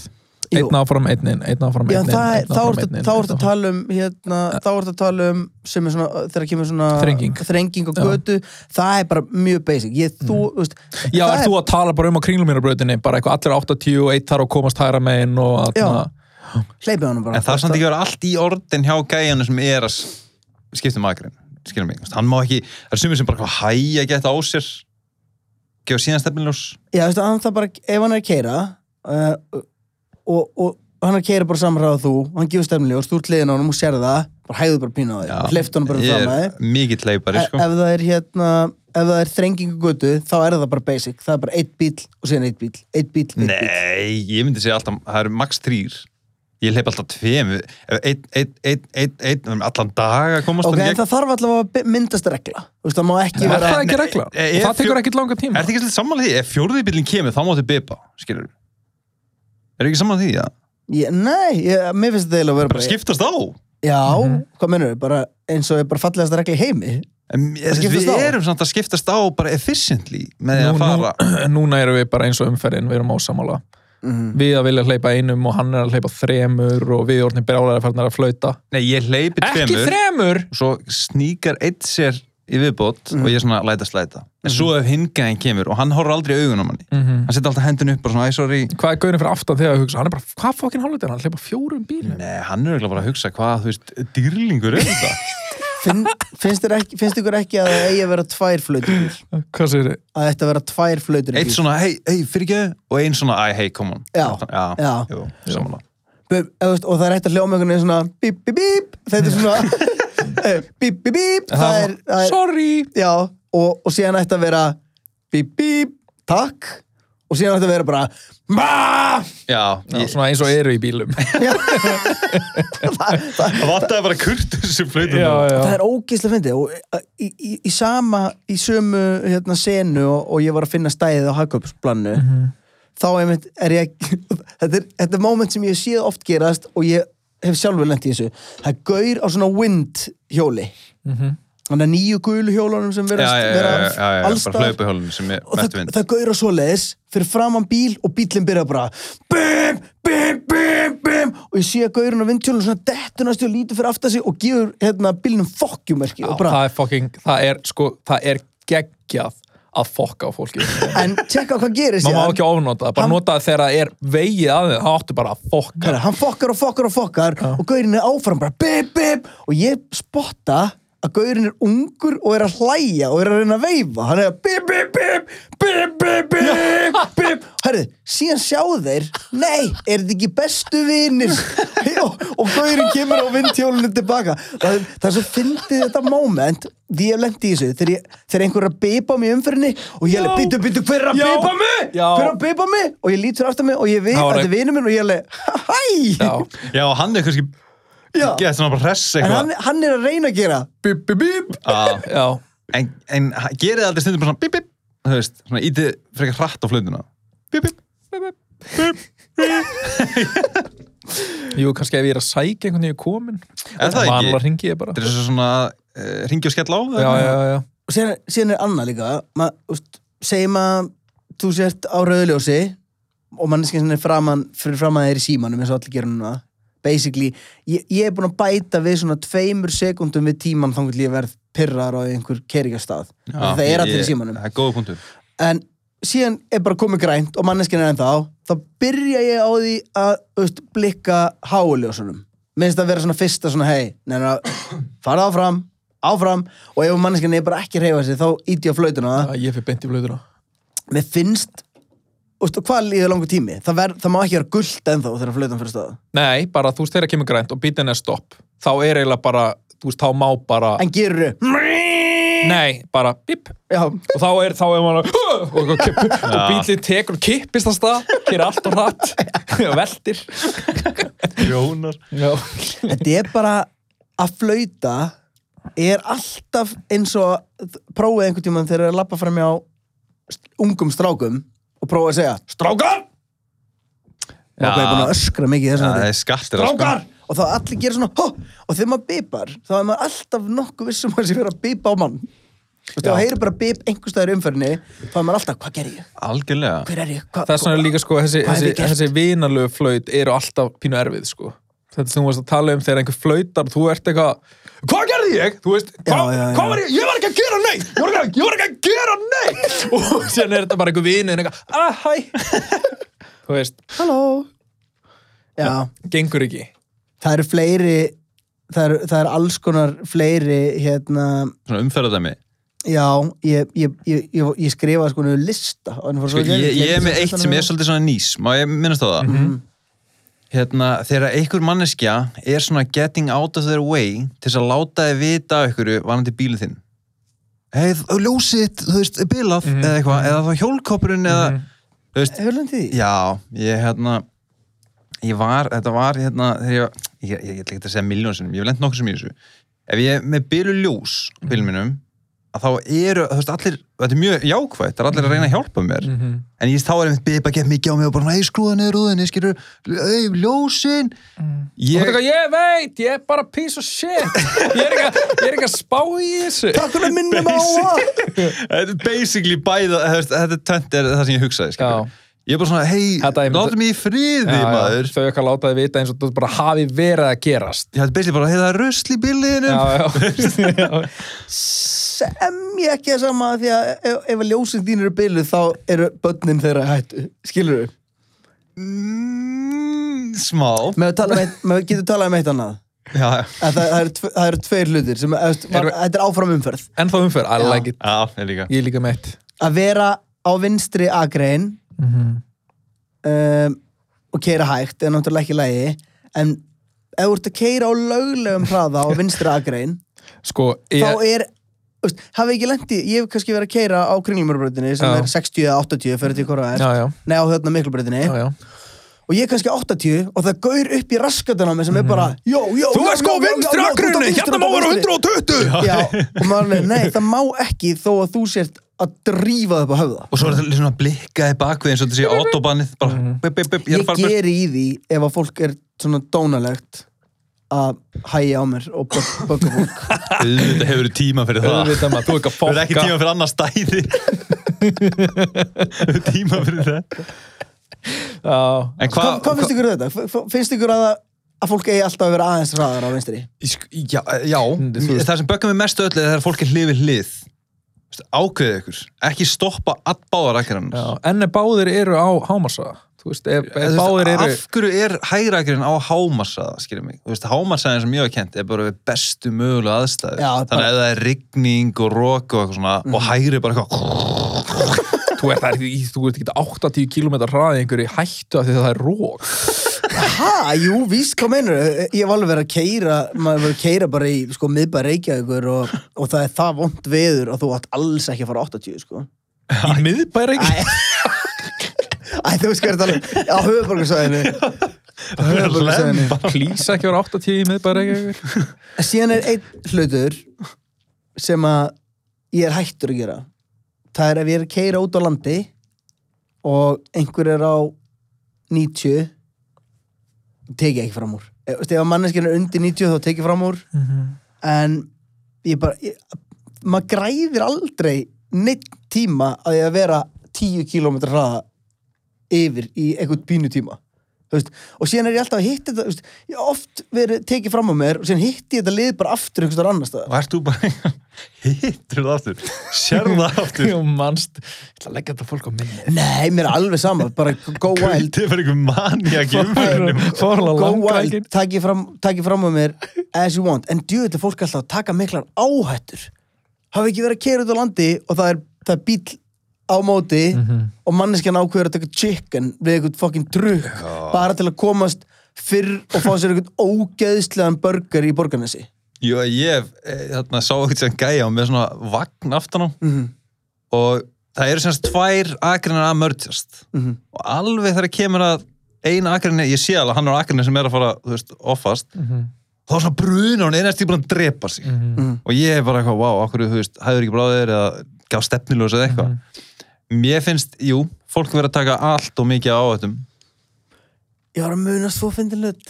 Jú. einn áfram einnin, einn áfram Já, einnin það er, einn þá áfram ertu einnin, þá einn ertu að áfram- tala um hérna, þá ertu að tala um sem er svona, þegar kemur svona Þrenging. þrenging og götu, það er bara mjög basic ég, þú, veist, Mm. Já, það er þú að tala bara um á kringlumírabrautinni bara eitthvað allir 80 og eitt þar og komast hæra megin og Já. aðna hleypið honum bara En það er samt ekki að vera allt í orðin hjá gæjana sem er að skipta um aðgrein skilum mig, hann má ekki, það er sumir sem bara eitthvað hægja geta á sér gefa síðan stefniljós Já, veistu, hann það bara, ef hann er að keira uh, og, og hann er að keira bara samræða þú, hann gefur stefniljós, þú ert liðin á hann og sér það, bara hægðu bara pínu á Já. þig hleyft hann bara ég fram að er þig mikill leipari ef sko. það er hérna ef það er þrengingu götu, þá er það bara basic það er bara eitt bíl og síðan eitt bíl eitt bíl, eitt bíl nei, ég myndi segja alltaf það eru max 3 ég leip alltaf 2 einn, einn, einn, einn, einn um allan dag að komast ok, þarna í en það þarf allavega að by- myndast regla þú veist, það má ekki Er vera það ekki Nei, regla? e- e- Og það fjó- tekur ekkit langa Er tíma þetta ekki svolítið samanlega því? Ef fjórðibillin kemur, þá máttu bipa, skilur Er ekki samanlega því, já? ég, nei, ég, mér finnst þetta eiginlega að vera Bara skiptast á já, hvað mennur við, bara eins og er bara fallegasta regla í heimi en, ég, Við skiptast á? erum samt að skiptast á bara efficiently með því Nú- að fara Mm. nú- Núna erum við bara eins og umferðin, við erum ósamála Mhm. Við að vilja hleypa einum og hann er að hleypa þremur og við orðnir brjálæri farnar að flauta Nei, ég hleypi Ekki tveimur þremur! og svo sníkar eitt sér í viðbót og ég svona læta slæta En svo Mhm. ef hingæðin kemur og hann horfir aldrei í augun á manni Mhm. Hann setja alltaf hendun upp bara svona, æ, sorry Hvað er gauðin fyrir aftan þegar að hugsa? Hann er bara, hvað fokkin hálfutinn? Hann hleypa fjórum bílum Nei, hann er eiginlega bara að hugsa hvað, þú veist, dýrlingur er þetta Finn, finnst, þér ekki, finnst ykkur ekki að það eigi að vera tvær flautur í bíl? Hvað segir þið? að þetta vera tvær flautur í Eitt bíl svona, hei, hei, fyrir og einn svona, æ, hei, come on Já, já, já. Jú, samanlega Bub, eða þú veist, og það er eitt að hljóma einhvern veginn svona bíp, bíp, bíp, þetta er svona eh, bíp, bíp, bíp, það er, það er Sorry já, og, og síðan ætti að vera bíp, bíp, takk og síðan ætti að vera bara "Ma!" Já, Já, svona eins og eru í bílum það, það, Það vantaði bara kurtus í flöytunum. það er ógeðslega fyndið og uh, í, í, í sama í sömu hérna senu og, og ég var að finna stæðið á Hagkaupsplannu Mhm. þá einmitt er ég þetta er, þetta er moment sem ég hef séð oft gerast og ég hef sjálfur lent í þessu það er gaur á svona wind hjóli þannig að nýju gulu hjólunum sem Mhm. Já, verðast já, já, vera já, já, já, alls bara staðar. hlaupahjólunum sem er og mestu það, vind. það gauður á svo leðis fyrir framann bíl og bílinn byrjar bara bim, bim, bim, bim og ég sé að gaurinn á vindtjólunum svona dettunast og lítur fyrir aftar sig og gefur hérna bílnum fokkjumerki Já, og bara, það er fucking, það er sko, það er geggjað að fokka á fólki en tjekka hvað gerist maður má síðan. ekki ofnota, bara Hann- nota það þegar það er vegið að þið, það áttu bara að fokka Herra, hann fokkar og fokkar og fokkar og gaurinn er áfram bara bim, bim og ég spotta að gaurinn er ungur og er að hlæja og er að reyna að veifa hann er að bim, bim, bim, bim, bim, bim, bim herru, síðan sjá þeir nei, er þetta ekki bestu vinir og, og gaurinn kemur á vindhjólinu tilbaka það, það er svo fyndið þetta moment því ég lendi í þessu þegar, ég, þegar einhver er að bipa á mig í umfyrinni og ég er að Já. býtu, býtu, hver er að Já. bipa mig Já. hver er að bipa mig og ég lítur aftur mig og ég veit Það að var þetta er vinur minn og ég er alveg hæ Já, Já, hann er kannski Já. gett svona bara hress en eitthvað. hann, hann er að reyna að gera bip, bip, bip Ah, já, En, en gerir það aldrei stundum bara svona bip, bip, þú veist, svona ítið frekar hratt á flöytuna. Bip, bip, bip, bip, bip. jú, kannski ef ég er að sækja einhvern veginn komin Er það ekki? Vanlega hringi ég bara Þetta er svo svona uh, ringi og skell á það. Já, já, já, og síðan, síðan er annað líka Ma, úst, segjum að þú sért á rauðljósi og manneskinn sem er framan, fyrir framan þeir í símanum eins og allir gera núna basically, ég, ég er búin að bæta við svona tveimur sekundum við tíman þannig að ég verð pirrar á einhver kerigastað það er allir í ég- símanum Það er góða punktur. en síðan er bara komið grænt og manneskinn er ennþá þá byrja ég á því að þú veist, blikka háuljósunum minnst að vera svona fyrsta svona hei neina, fara áfram, áfram og ef manneskinn er bara ekki að reyfa sig þá íti ég á flautuna já, ég fyrir beint í blöðuna mér finnst þú veist, og hvað líður langur tími það, ver, það má ekki vera gult ennþá þegar flautan fyrir staða Nei, bara þú veist þegar kemur grænt og bítin er stopp þá er eiginlega bara, þú veist, þá má bara en gerur Nei, bara bip já, og þá er, þá er maður og, og, kipp, og bílinn tekur og kippist að stað gerir allt og hratt og veltir Jónar. Já, þetta er bara að flauta er alltaf eins og prófið einhvern tímann þegar það er að lappa fram hjá st- ungum strákum og prófið að segja strákar og hvað er búin að öskra mikið þess Það að er skattir. að sko. strákar og þá allir gera svona Hó! og þegar maður bipar þá er maður alltaf nokkuð vissum að sé vera að bipa á mann og þá Já. heyrir bara bip einhverstaðar umferðinni þá er maður alltaf hvað ger ég, Algjörlega. hver er ég Hva, Þess vegna er líka sko þessi, Hvað hef þessi, ég gert? þessi vinalögu flaut eru alltaf pínu erfið sko Þetta sem þú varst að tala um þegar einhver flautar og þú ert eitthvað Hvað gerði ég? Þú veist, hvað, Já, já, já. hvað var ég? Ég var ekki að gera neitt! Ég var ekki að, ég var ekki að gera neitt! Og síðan er þetta bara einhver vinur en eitthvað Ah, hæ! Þú veist, halló já, gengur ekki það eru fleiri það eru, það eru alls konar fleiri hérna Svona umferðardæmi. Já, ég, ég, ég, ég, ég skrifaði sko niður lista Sko, ég, ég er með Mhm. eitt sem er svolítið svona nýs má ég minnast á það Mhm. hérna, þegar einhver manneskja er svona getting out of their way til þess að láta þið vita af ykkur varandi bílinn þinn hey, ljósið, þú veist, er bilað Mhm. eða eitthvað, eða þá hjólkopurinn eða, Mhm. þú veist, Hefur lendið því? já, ég hérna ég var, þetta var hérna, þegar ég, ég, ég, ég ætla ekki að segja miljónsinnum, ég hef lent nokkuð sem í þessu ef ég er með bilu ljós Mhm. á bílum mínum að þá eru, þú veist, allir þetta er mjög jákvætt, það er allir að reyna að hjálpa mér -hmm. en ég þá er einmitt bipa gett mikið á mig og bara, ei skrúða niður rúðinni, skilur ei, ljósin Ég... ég, ég veit, ég er bara piece of shit Ég er ekki að, ég er ekki að spá í þessu Takk fyrir að minnum á það! Þetta er basically bæða þú veist, þetta tönt er það sem ég hugsaði skilurðu. Já. ég er bara svona, Þetta hei, er- látum mig í friði Já, já, maður Þau ekki að láta þið vita eins og þú bara hafi verið að gerast ég hætti basically bara, hei það er rusl í Já, billiðinum já, já. Sem ég ekki að sama því að ef, ef að ljósin þín eru bylu þá eru börnin þeirra í hættu Skilur þú? mm, smá Maður getur talað um eitt annað já, já, Að Það, það, eru, tve, það eru tveir hlutir sem, eða, veist, var, Erum við- Þetta er áfram umferð En þá umferð, I like it já, ég líka Ég er líka meitt Að vera á vinstri agrein um, og keira hægt er náttúrulega ekki lægi en ef þú ert að keira á löglegum hraða á vinstri agrein Sko, ég, þá er þú veist, hafi ekki lendi, ég hef kannski verið að keira á kringlumörbreytinni sem Já. er 60 eða 80 fyrir til hvora það já, er, já, nei á hérna miklubreytinni já, já. og ég er kannski 80 og það gaur upp í raskatun á mig sem er bara jó, jó, Þú já, veist já, sko já, já, vinstri já, þú ert á akkurinn, vinstri, hérna þú má ert á vera vinstri. 120 Já, og maður er, nei, það má ekki þó að þú sért að drífa það upp á höfða Og svo er þetta svona blikkaði bakvið eins og þetta sé autobanið bara, Mhm. Mm. bip, bip, bip, ég er Ég að fara burt. geri í því ef að fólk er svona dónalegt að hæja á mér og bög- bögga fólk Auðvitað hefur tíma fyrir það Auðvitað maður, þú er ekki að Þú hefur ekki fokka tíma fyrir annars stæði Þú hefur tíma fyrir það Já. En Hva, hvað Hvað finnst ykkur um þetta? F- f- Finnst ykkur að, að fólk eigi alltaf að vera aðeins hraðar á vinstri? Sk- Já, já. þú veist- það sem bökkum við mestu öll er þegar fólk er hlið við hlið Þú veist, ákveðið ykkur, ekki stoppa all báðar akkarinn Já, en ef báðir eru á hámasa þú veist, ef, ef báðir eru af hverju er hægra akkarinn á hámarsaða skilur mig, þú veist, hámarsaðin sem ég hef kent er bara við bestu mögulega aðstæður Já, þannig að ef það er rigning og rók og eitthvað svona Mhm. og hægri er bara eitthvað þú ert, það er í- þú ert ekki 80 km hraði einhverju í hættu af því að það er rók Ha, jú, víst, hvað meinur Ég hef alveg verið að keira maður verið að keira bara í sko, miðbæ Reykjavíkur og, og það er það vond veður að þú átt alls ekki að fara 80 sko. í miðbæri ekki Æ, Æ, þú veist hvað er talað á höfuborgarsvæðinu á höfuborgarsvæðinu Plís ekki vera 80 í miðbæri ekki Síðan er einn hlutur sem að ég er hættur að gera það er ef ég er að keira út á landi og einhver er á 90 teki ég ekki fram úr Eh, veistu, ef manneskinn er undir 90 þá teki ég fram úr en ég bara ég, maður græðir aldrei neitt tíma að ég að vera 10 km hraða yfir í einhvern pínu tíma Þú veist, og síðan er ég alltaf að hitta þetta þú veist, ég hef oft verið tekið fram á mér og síðan hitti ég þetta lið bara aftur einhvers þar annars staðar og ert þú bara hittur það aftur, sér það aftur Þú manst, ég ætla að leggja þetta fólk á minni nei, mér er alveg sama, bara go wild Þetta er bara einhver mani að gefa Fórlega go langrækin wild, takk ég fram, takk ég fram á mér as you want, en djú, þetta er fólk alltaf að taka miklar áhættur hafi ekki verið að kera út á landi og það er, það er bíl á móti og manneskjan ákveður að taka chicken við einhvern fucking drukk bara til að komast fyrr og fá sér einhvern ógeðslegan burger í borgarnesi Jú, ég hef, eh, þarna, sá eitthvað sem gæja með svona vagn aftan á Mhm, og það eru semst tvær akreinar að mörgjast Mhm. og alveg þegar kemur að eina akreinu, ég sé alveg að hann er akreinu sem er að fara, þú veist, offast þá er svona bruna hún einast í búin að drepa sig Mhm. Mm. og ég er bara eitthvað, wow, okkur, þú veist, hæður ekki bráðir eða gaf stefnilegs eða eitthvað Mhm. Mér finnst, jú, fólk verður að taka allt og mikið á þetta ég var að muna svo fyndin hlut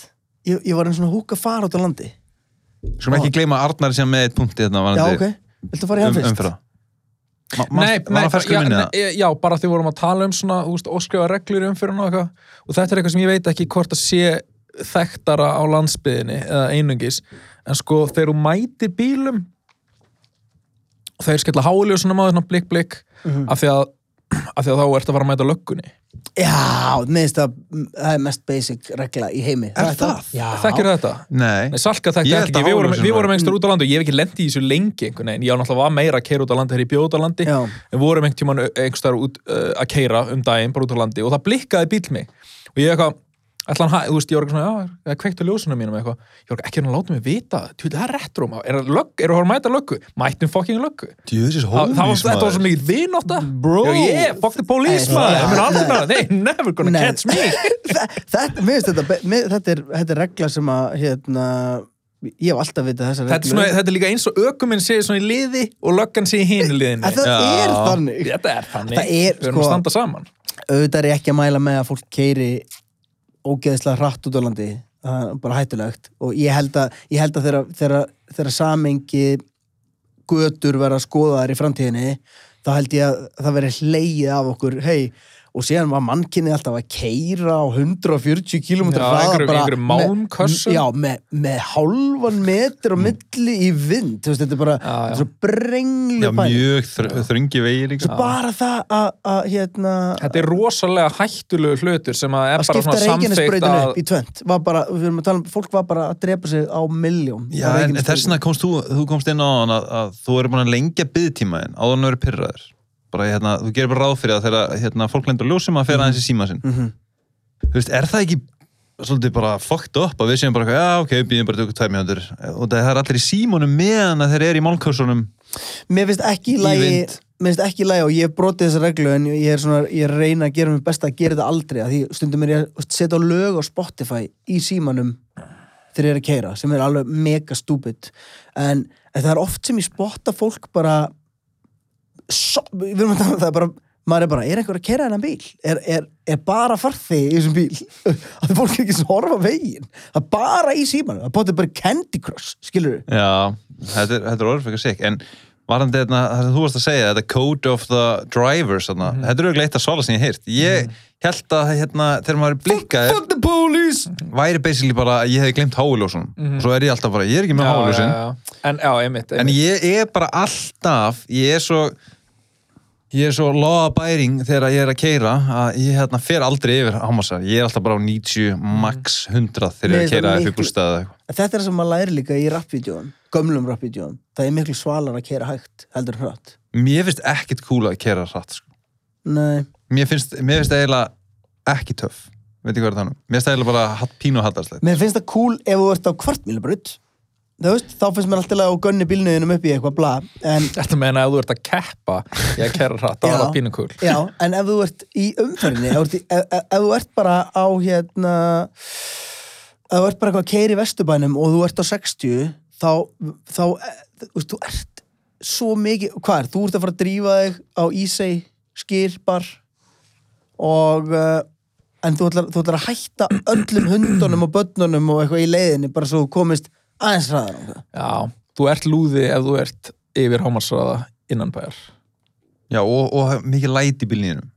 ég, ég var einn svona húka fara út á landi Skulum ekki gleyma að Arnar sem með eitt punkti þetta já ok, viltu fara í hann um, fyrst? umfyrra Nei, nei, já, já, nei, e, já, bara því vorum að tala um svona úst, óskrifa reglur um fyrir og eitthvað og þetta er eitthvað sem ég veit ekki hvort að sé þekktara á landsbyðinni eða einungis, en sko þegar þú mætir bílum og þeir skella háljósunum á þessna blikk blikk Mhm. af, því að, af því að þá ert að fara að mæta löggunni já, minnst að það er mest basic regla í heimi Er það? Já. þekkir þetta? nei. Nei, Salka þekkti Ég þetta held ekki, að við vorum, hálausin við var- vorum einhver út á landi og ég hef ekki lendið í þessu lengi einhvern veginn, ég á náttúrulega var meira að keira út á landi þegar ég bjóð út á landi, Já. en vorum einhvern tímann eh, einhvers þar út uh, að keira um daginn bara út á landi og það blikkaði bíl mig og ég eitthvað, ætlan hæ, þú veist, ég var eitthvað svona, já, það kveiktu ljósunum mínum eitthvað, ég var eitthvað, ekki hann að láta mig vita, tjóði það er rétt rúm, er það lögg, eru það að mæta löggu, mættum fokking löggu, Djöfis það það var, þetta var svo mikið vinóta, Bro. ég, yeah, fuck the police, Nei, maður, ég nei, mun aldrei ná- nei, never gonna Nei. catch me, Þe- þetta, mér finnst þetta, be- mér, þetta, er, þetta er regla sem að hérna, ég hef alltaf vitað þessa þetta er, svona, þetta er líka eins og ökuminn sé svona í liði og löggan sé í hinu liðinu En það Já. er þannig Þetta er þannig, Það er, við erum sko- að standa saman auðvitað er ég ekki að mæla með að fólk keiri ógeðslega hratt út á landi það er bara hættulegt og ég held að, ég held að þeirra, þeirra, þeirra samengi götur verða skoðaðar í framtíðinni þá held ég að það veri hleið af okkur hei, og síðan var mannkinni alltaf að keira á 140 km Já, einhverju- einhverju málmkössum. já, með, með hálfan metr á milli í vind þú veist, þetta er bara Mm. Já, já. svo brenglu Já, mjög þr þröngi vegir svo bara það að, að hérna, Þetta er rosalega hættulegu hlutur sem að er að bara skipta svona samþykkt Reykjanesbrautinu að upp í tvönd var bara, við erum að tala um, fólk var bara að drepa sig á milljón Já, en þess vegna komst þú, þú komst inn á hann að, að þú eru búin að lengja byggtímaðin áður en þú eru pyrraður bara, hérna, þú gerir bara ráð fyrir það þegar hérna, fólk lendur ljósum að færa aðeins í síma sinn Mhm. Þú veist, er það ekki svolítið bara fucked up að við séum bara, eitthvað, já, ok, býðum bara tökum tvær mjöndur og það er allir í símónum meðan að þeir eru í málkursunum Mér finnst ekki í lagi Í vind. Mér finnst ekki í lagi og ég hef brotið þessa reglu en ég er svona, ég reyna að gera mér best að gera þetta aldrei að því stundum er ég að veist, setja á lög á Spotify í símanum þegar ég er að keira sem er alveg mega stúbid en, en það er oft sem ég spotta fólk bara so, við erum að tala um það bara maður er bara, er einhver að keira hennan bíl? Er, er, er bara farþi í þessum bíl? að fólk er ekki að horfa á veginn það er bara í símanum, það er bótið bara Candy Crush, skilur Já, þetta er, þetta er orðið fyrir sikk, en varandi þetta, það sem þú varst að segja, þetta code of the drivers, þarna, þetta er auðvitað eitt af svala sem ég hef heyrt. Ég held að hérna, þegar maður er blikkaður, Fuck the police! væri basically bara að ég hef glemt háiljósunum Mhm. og svo er ég alltaf bara, ég er ekki með háiljósun En já, einmitt, en einmitt. ég er bara alltaf ég er svo ég er svo loðabæring þegar ég er að keira að ég hérna fer aldrei yfir hámasar, ég er alltaf bara á 90 max 100 þegar ég er að Mhm. Mér finnst keira það upp úr miklu- staða Þetta er það sem maður læri líka í rappvídeóum, gömlum rappvídeóum. Það er miklu svalar að kera hægt, heldur en hratt. mér finnst ekkit cool að keira hratt sko. Nei, mér finnst, mér finnst eiginlega ekki töff, veit ekki hvað er þannig mér finnst eiginlega bara hatt pínu og hattarslegt mér finnst það cool ef þú ert á kvartmílabraut. Þú veist, þá finnst mér alltaf að gönni bílnöðinum upp í eitthvað bla. En, Þetta meina að þú ert að keppa ég að kæra hratt, það Já. var að pínu kúl já, en ef þú ert í umferðinni, ef, þú ert í- ef, ef, ef þú ert bara á hérna, ef þú ert bara eitthvað keiri vesturbænum og þú ert á 60, þá, þá, e- þú veist, þú ert svo mikið, hvað er, þú ert að fara að drífa þig á Ísei, skýrbar, og uh, en þú ætlar, þú ætlar að hætta öllum hundunum og börnunum og eitthvað í leiðinni bara svo þú komist aðeins hraðar Já, þú ert lúði ef þú ert yfir hámarsraða innan bæjar já, og, og mikið læti í bílninum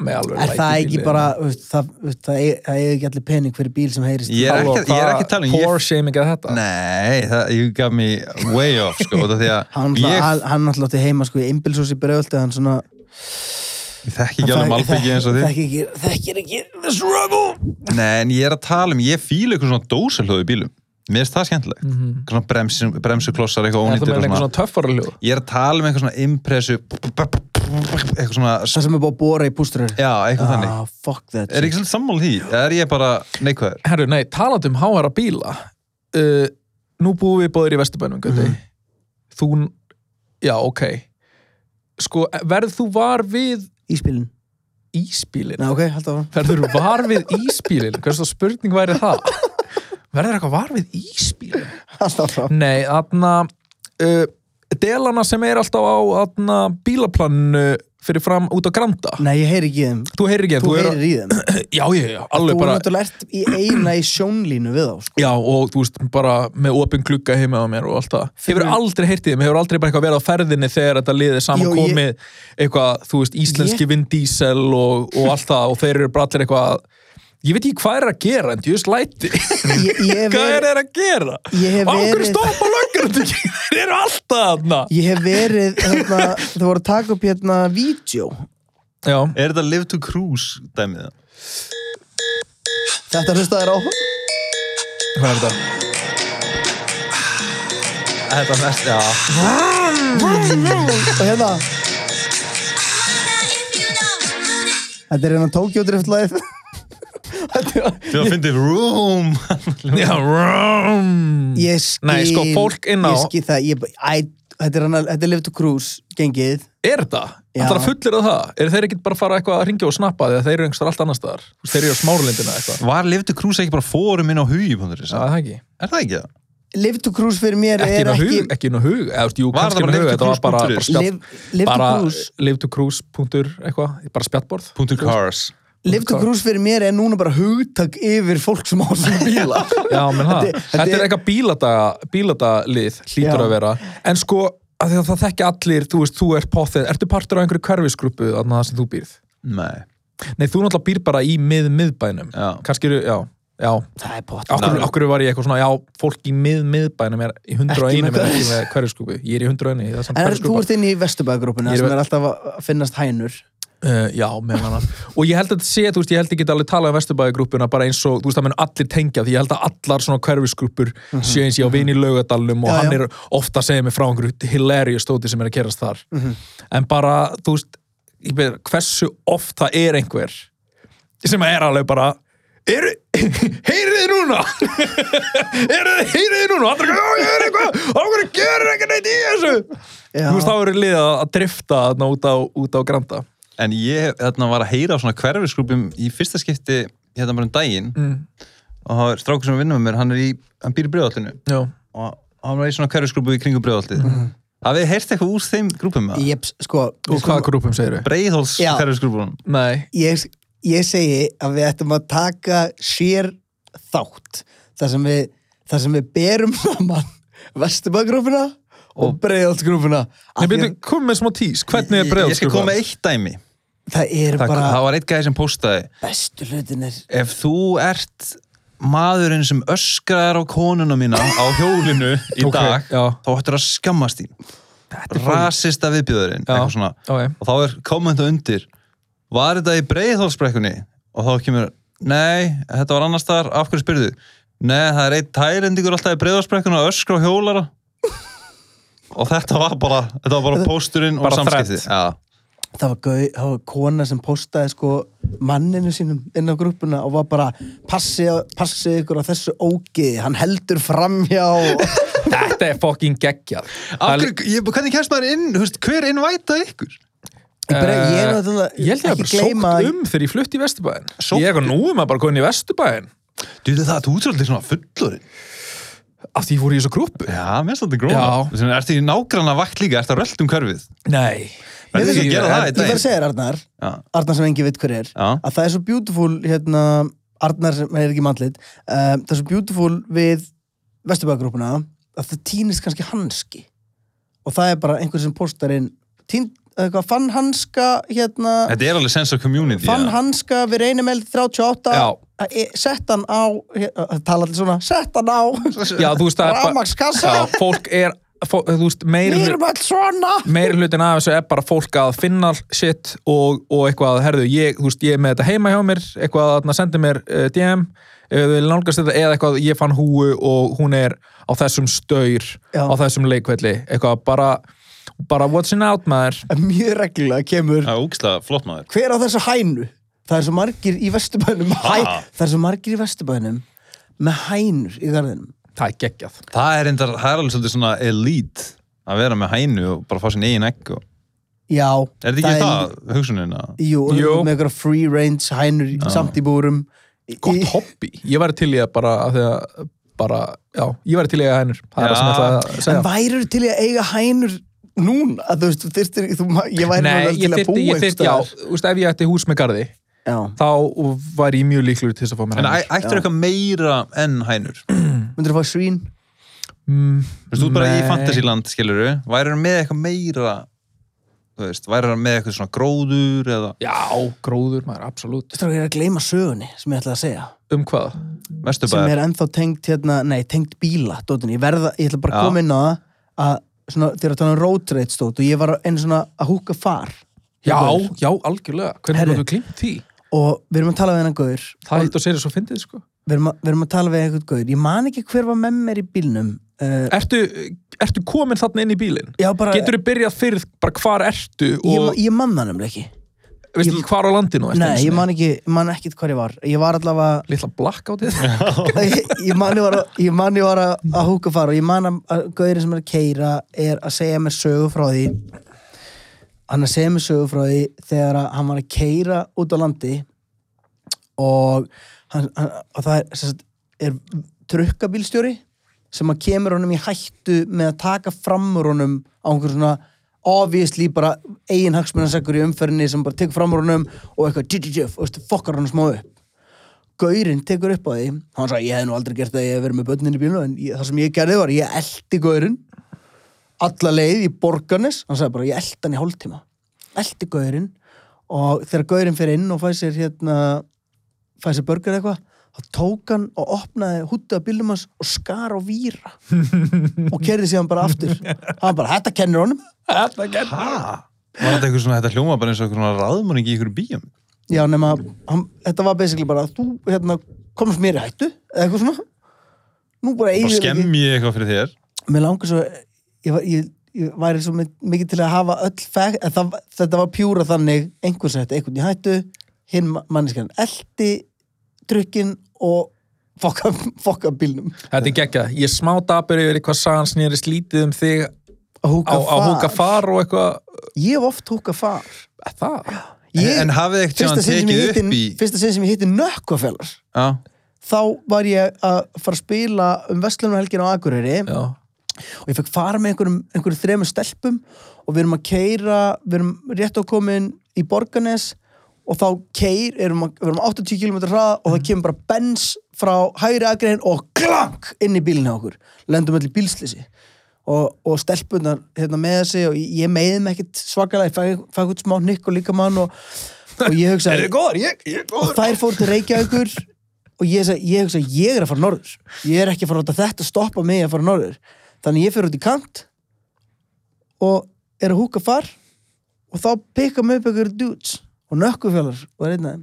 með alveg er læti það í ekki bílnum. bara þú veist, það, þú veist, það eigi- það eigi ekki allir pening fyrir bíl sem heyrist Ég er Halló, ekki- ég er ekki að tala um- hvað ég- poor shaming að Ah. þetta nei, það, you got me way off sko, út af því hann að ég náttúrulega hann náttúrulega átti heima sko í einbilsós í bregöldi hann svona Ég þekki ekki alveg malbyggi eins og þið. þekkir ekki, þekkir ekki the struggle Nei, en ég er að tala um, ég fíla eitthvað svona dósalhjóð í bílum. Mér finnst það skemmtilegt. Mm Mhm. Svona bremsi, bremsuklossar, eitthvað Er það ónýttur meina og einhver svona. svona töffara hljóð? Ég er að tala um eitthvað svona impressu, eitthvað svona, það sem er búið að bóra í bústurur já, eitthvað þannig. ah, fuck that Er ekki svolítið sammála því? Eða er ég bara neikvæður? Herru, nei, talandi um háara bíla uh, Nú búum við bóðir í Vesturbænum, Guði Mhm. Þú, já, ok Sko, verð þú var við íspilin íspílin? Nei, ok, haldið áfram Verður þú var við íspílin? Hversu þá spurning væri það? Verður eitthvað var við íspílin? haldið áfram Nei, aðna uh, Delana sem er alltaf á aðna, bílaplaninu fyrir fram út á Granda nei, ég heyri ekki í þeim Þú heyrir ekki að þú þú er heyrir í þeim Já, já, já, þú alveg er bara náttúrulega ert í eina í sjónlínu við þá sko. Já, og þú veist, bara með opin klukka heima á mér og allt það. Hefur Fyrir- aldrei heyrtið þeim, hefur aldrei bara eitthvað verið á ferðinni þegar þetta liðið saman Jú, ég- komið eitthvað, þú veist, íslenski Vin Diesel og, og allt það og þeir eru bara allir eitthvað ég veit ekki hvað er að gera, en djúst læti ég, ég, hef hvað er verið, þeir að gera? Ég hef Á hverju verið- stoppa löggur þeir eru alltaf þarna ég hef verið hérna, þú voru að taka upp hérna vídeo Já, Er þetta live to cruise dæmið það? þetta hlustaður á hvað er þetta? Þetta er mest, já. og hérna þetta er hérna Tokyo Drift live þetta er Þú finnir room. Já, rrrrum. Ég skil Nei, sko, fólk inn á- Ég skil það, ég, æ, þetta er, hana, þetta er Live to Cruise gengið Er það? Já. Það er að fullir að það? Er þeir ekki bara að fara eitthvað að ringja og snappa þegar þeir eru einhverstaðar allt annar staðar? Þú veist, Þeir eru á smárlindina eitthvað? Var live to cruise ekki bara fórum inn á hugi, punktur is? Já, það ekki. Er það ekki það? Live to Cruise fyrir mér Ekki er inn á hug, ekki ekki inn á hug. Eða, þú veist, jú, Var það kannski inn bara á hug, live to þetta var bara, cruise bara punktur spjall. Live, live bara to Cruise live to cruise punktur eitthvað, bara spjallborð. Punktur cars. Live to Cruise fyrir mér er núna bara hugtak yfir fólk sem á svona bíla Já, menn það. Þetta- Þetta, þetta er er- eitthvað bíladaga, bíladalið, Já. hlýtur að vera. En sko, að að það þekki allir, þú veist, þú ert potið, ertu partur á einhverju hverfisgrúpu þarna þar sem þú býrð? Nei. Nei, þú náttúrulega býr bara í mið-miðbænum. Já. Kannski eru, já, já, Það er bótt Okkur, Nei. okkur var ég eitthvað svona, já, fólk í mið, miðbænum er í 101 Ekki með er ekki með hverjuskúpu, ég er í 101 það er samt En er, þú hverjuskúpa, ert inn í Vesturbæðagrúpuna Ég er- sem er alltaf að að finnast hænur uh, já, meðan annar og ég held að þetta sé, þú veist, ég held að ég get alveg talað um vesturbæðigrúpuna bara eins og, þú veist, það mun allir tengja því ég held að allar svona hverjuskúpur sé eins ég á vini laugadalum og Mhm. Já, hann já. er ofta að segja mig frá einhverju hilarious stóti sem er að kerast þar Mhm. en bara, þú veist, ég beður hversu oft það er einhver sem er alveg bara eru, heyrið þið núna eru þið, heyrið þið núna og allir, já, ég er eitthvað, okkur gerir eitthvað neitt í þessu Já. Þú veist, þá eru liðið að að drifta þarna út á, út á Granda. En ég þarna var að heyra á svona hverfisgrúpum í fyrsta skipti hérna bara um daginn Mm. og það er strákur sem vinnur með mér, hann, er í, hann býr í breyðallinu Já. og hann var í svona hverfisgrúpu í kringum breyðallið. Mm. Hafið þið heyrt eitthvað úr þeim grúpum með það? Jeps, sko, Úr hvaða grúpum segir við? Breiðhóls Já. hverfisgrúpunum. Nei. ég, ég segi að við ættum að taka sér þátt þar sem við, þar sem við berum saman Vestubagrúfuna og Breiðaldsgrúfuna Nei, byrju, kom með smá tís. Hvernig er Ég skal breiðalsgrúpa? koma með eitt dæmi. það eru Það, bara það var eitt gæði sem postaði bestu hlutinir Ef þú ert maðurinn sem öskraðar á konuna mína á hjólinu í Ok, dag já. þá ættir að skammast þín rasista viðbjöðurinn Já. eitthvað svona Ok. og þá er kommenta undir var þetta í breiðhólsbrekkunni og þá kemur, nei, þetta var annars þar af hverju spyrðu, nei, það er einn tælendingur alltaf í breiðhólsbrekkunni að öskra á hjólara og þetta var bara, þetta var bara pósturinn og Bara samskipti threat. já, það var, gau, það var kona sem postaði sko manninu sínum inn á grúfuna og var bara passi, passi ykkur á þessu ógi hann heldur framhjá Þetta er fucking geggjað. af hverju, ég, hvernig kemst maður inn þú veist, hver innvæta ykkur Ég bara- ég er náttúrulega eh, Ég held ég að ekki bara gleyma sókt að- um þegar ég flutti í Vesturbæðin. Sótt- Ég er eitthvað nú um að bara koma inn í Vesturbæðin. Þú veit það, þú ert svolítið svona fullorinn. Af því ég fór í þessu grúpu. Já, mér svolítið gróna. Já. Þú veist, ertu í nágranna vakt líka, ertu að rölda um körfið. Nei. Verður ekki að gera það í ég verð að segja þér Arnar Já. Arnar sem engi veit hver er Já. að það er svo beautiful hérna, Arnar sem er ekki mannlit um, það er svo beautiful við Vesturbæðagrúpuna að það týnist kannski hanski og það er bara einhver sem postar inn tín, eitthvað, fann hanska hérna, Þetta er alveg sense of community. fann já. hanska við reynum eld 38 Já. að e- sett hann á hér- að tala allir svona, sett hann á Já, þú veist það er bara... rafmakskassa Já, fólk er... Fó, þú veist, meiri við erum alls svona meiri hlutin af þessu er bara fólk að finna shit og, og eitthvað, herðu, ég, þú veist, ég er með þetta heima hjá mér, eitthvað að sendi mér uh, DM, ef þau vil nálgast þetta eða eitthvað, ég fann húu og hún er á þessum staur, Já. á þessum leikvelli, eitthvað, bara bara watching out maður mjög reglulega kemur Það er ógislega flott maður. hver á þessu hænu? Það er svo margir í vesturbænum hæ, Ha? Það er svo margir í vesturbænum með hænur í garðinum það er geggjað Það er, endar, það er alveg svolítið svona elite að vera með hænu og bara fá sinn eigin egg. Og... Já Er þetta ekki það, hugsunin að... Jú, Jú. með einhverja free range hænur í- samt í búrum Í- gott í- hobby, ég væri til í að bara að því að bara, já, ég væri til í að hennur það er Já. það sem ég ætlaði að En segja værið til í að eiga hænur núna að þú veist, þú þyrstir þú, ma- ég væri Nei, alveg ég til að þyrfti, búa ég þyrfti, já, þú veist, ef ég ætti hús með garði já. þá væri ég mjög líklegur til þess að fá mér En æ- hænur. ættir eitthvað meira enn hænur? Þú Myndir þú fá svín? Mm, veist, þú ert bara í Nei. fantasyland, skiluru. Værir með eitthvað meira, þú veist, værir með eitthvað svona gróður eða Já, gróður maður, absolutt. Þú veist, ég er að gleyma sögunni sem ég ætla að segja Um hvað? sem vesturbæðar. er ennþá tengt hérna, nei, tengt bíla dóttin, ég verða, ég ætla bara Já. að koma inn á það að svona, þegar að tala um road rage stótt og ég var einu svona að húka far Já, já, algjörlega. Hvernig Herri. Herri. þú glimt því? og við erum að tala við hennan gaur Það eitt og sér er svo fyndið, sko. við erum, að, við erum að tala við einhvern gaur ég man ekki hver var með mér í bílnum uh, Ertu, ertu komin þarna inn í bílinn? já, bara, Getur þú byrjað fyrir bara hvar ertu ég, og ma- ég man það nefnilega ekki veistu ekki hvar á landinu ertu? nei, einu ég sinni? man ekki, ég man ekki hvað ég var ég var allavega Litla blakk á þið? ég, ég man ég var, að- ég man ég var að, að húka fara og ég man að, að gauðurinn sem er að keira er að segja mér sögu frá því hann er að segja mér sögu frá því þegar að hann var að keira út á landi og, hann, hann, og það er, sem sagt, er trukkabílstjóri sem að kemur honum í hættu með að taka fram úr honum á einhver svona obviously bara eigin hagsmunasekkur í umferðinni sem bara tekur fram úr honum og eitthvað tjútjútjúf og veistu, fokkar honum smá upp gaurinn tekur upp á því hann sagði ég hef nú aldrei gert það ég hef verið með börnin í bílunum en ég, það sem ég gerði var ég eldi gaurinn alla leið í borgarnes hann sagði bara ég eldi hann í hálftíma eldi gaurinn og þegar gaurinn fer inn og fæ sér hérna fæ sér burger eða eitthvað þá tók hann og opnaði húttu af bílum hans og skar á víra og kerði síðan bara aftur hann bara þetta kennir honum Þetta getur. Hæ? Var þetta eitthvað svona, þetta hljóma bara eins og eitthvað svona ráðmanning í ykkur bíum? Já, nema, hann, þetta var basically bara þú, hérna, komst mér í hættu eða eitthvað svona nú bara Bara eigið skemm ég eitthvað fyrir þér? mér langar svo ég, var- ég, ég væri svo mi- mikið til að hafa öll fæk, það, þetta var pjúra þannig einhvers hættu, einhvern í hættu hinn manniskan, eldi drukkin og fokka, fokka bílnum Þetta er geggjað. Ég smá dapur yfir hvað sagan snýrist lítið um þig að á, húka á húka far og eitthvað ég hef oft húka far Eh, það, ég, En hafið ekkert fyrsta tímann sinn sem tekið ég upp í hitti- fyrsta sinn sem ég hitti nökkvafellar Já, þá var ég að fara að spila um Vestlunarhelgin á Akureyri já, og ég fekk fara með einhverjum, einhverjum þremur stelpum og við erum að keira við erum rétt ákomin í Borganes og þá keir, erum að, við erum á 80 km hrað og það kemur bara bens frá hægri agrein og klank inn í bílinni á okkur, lendum öll í bílslisi og, og stelpunar hérna, með þessi og ég ég meiði mig ekkit svakalega, ég fæk, fæk út smá nikk og líka mann og, og ég hugsaði góður, ég, ég er og þær fór til Reykjavíkur og ég sagði, ég, hugsa, ég er að fara norður ég er ekki að fara út að þetta stoppa mig að fara norður þannig ég fyrir út í kant og er að húka far og þá pikka mig upp einhverju dudes og nökkufjölar og er einn af þeim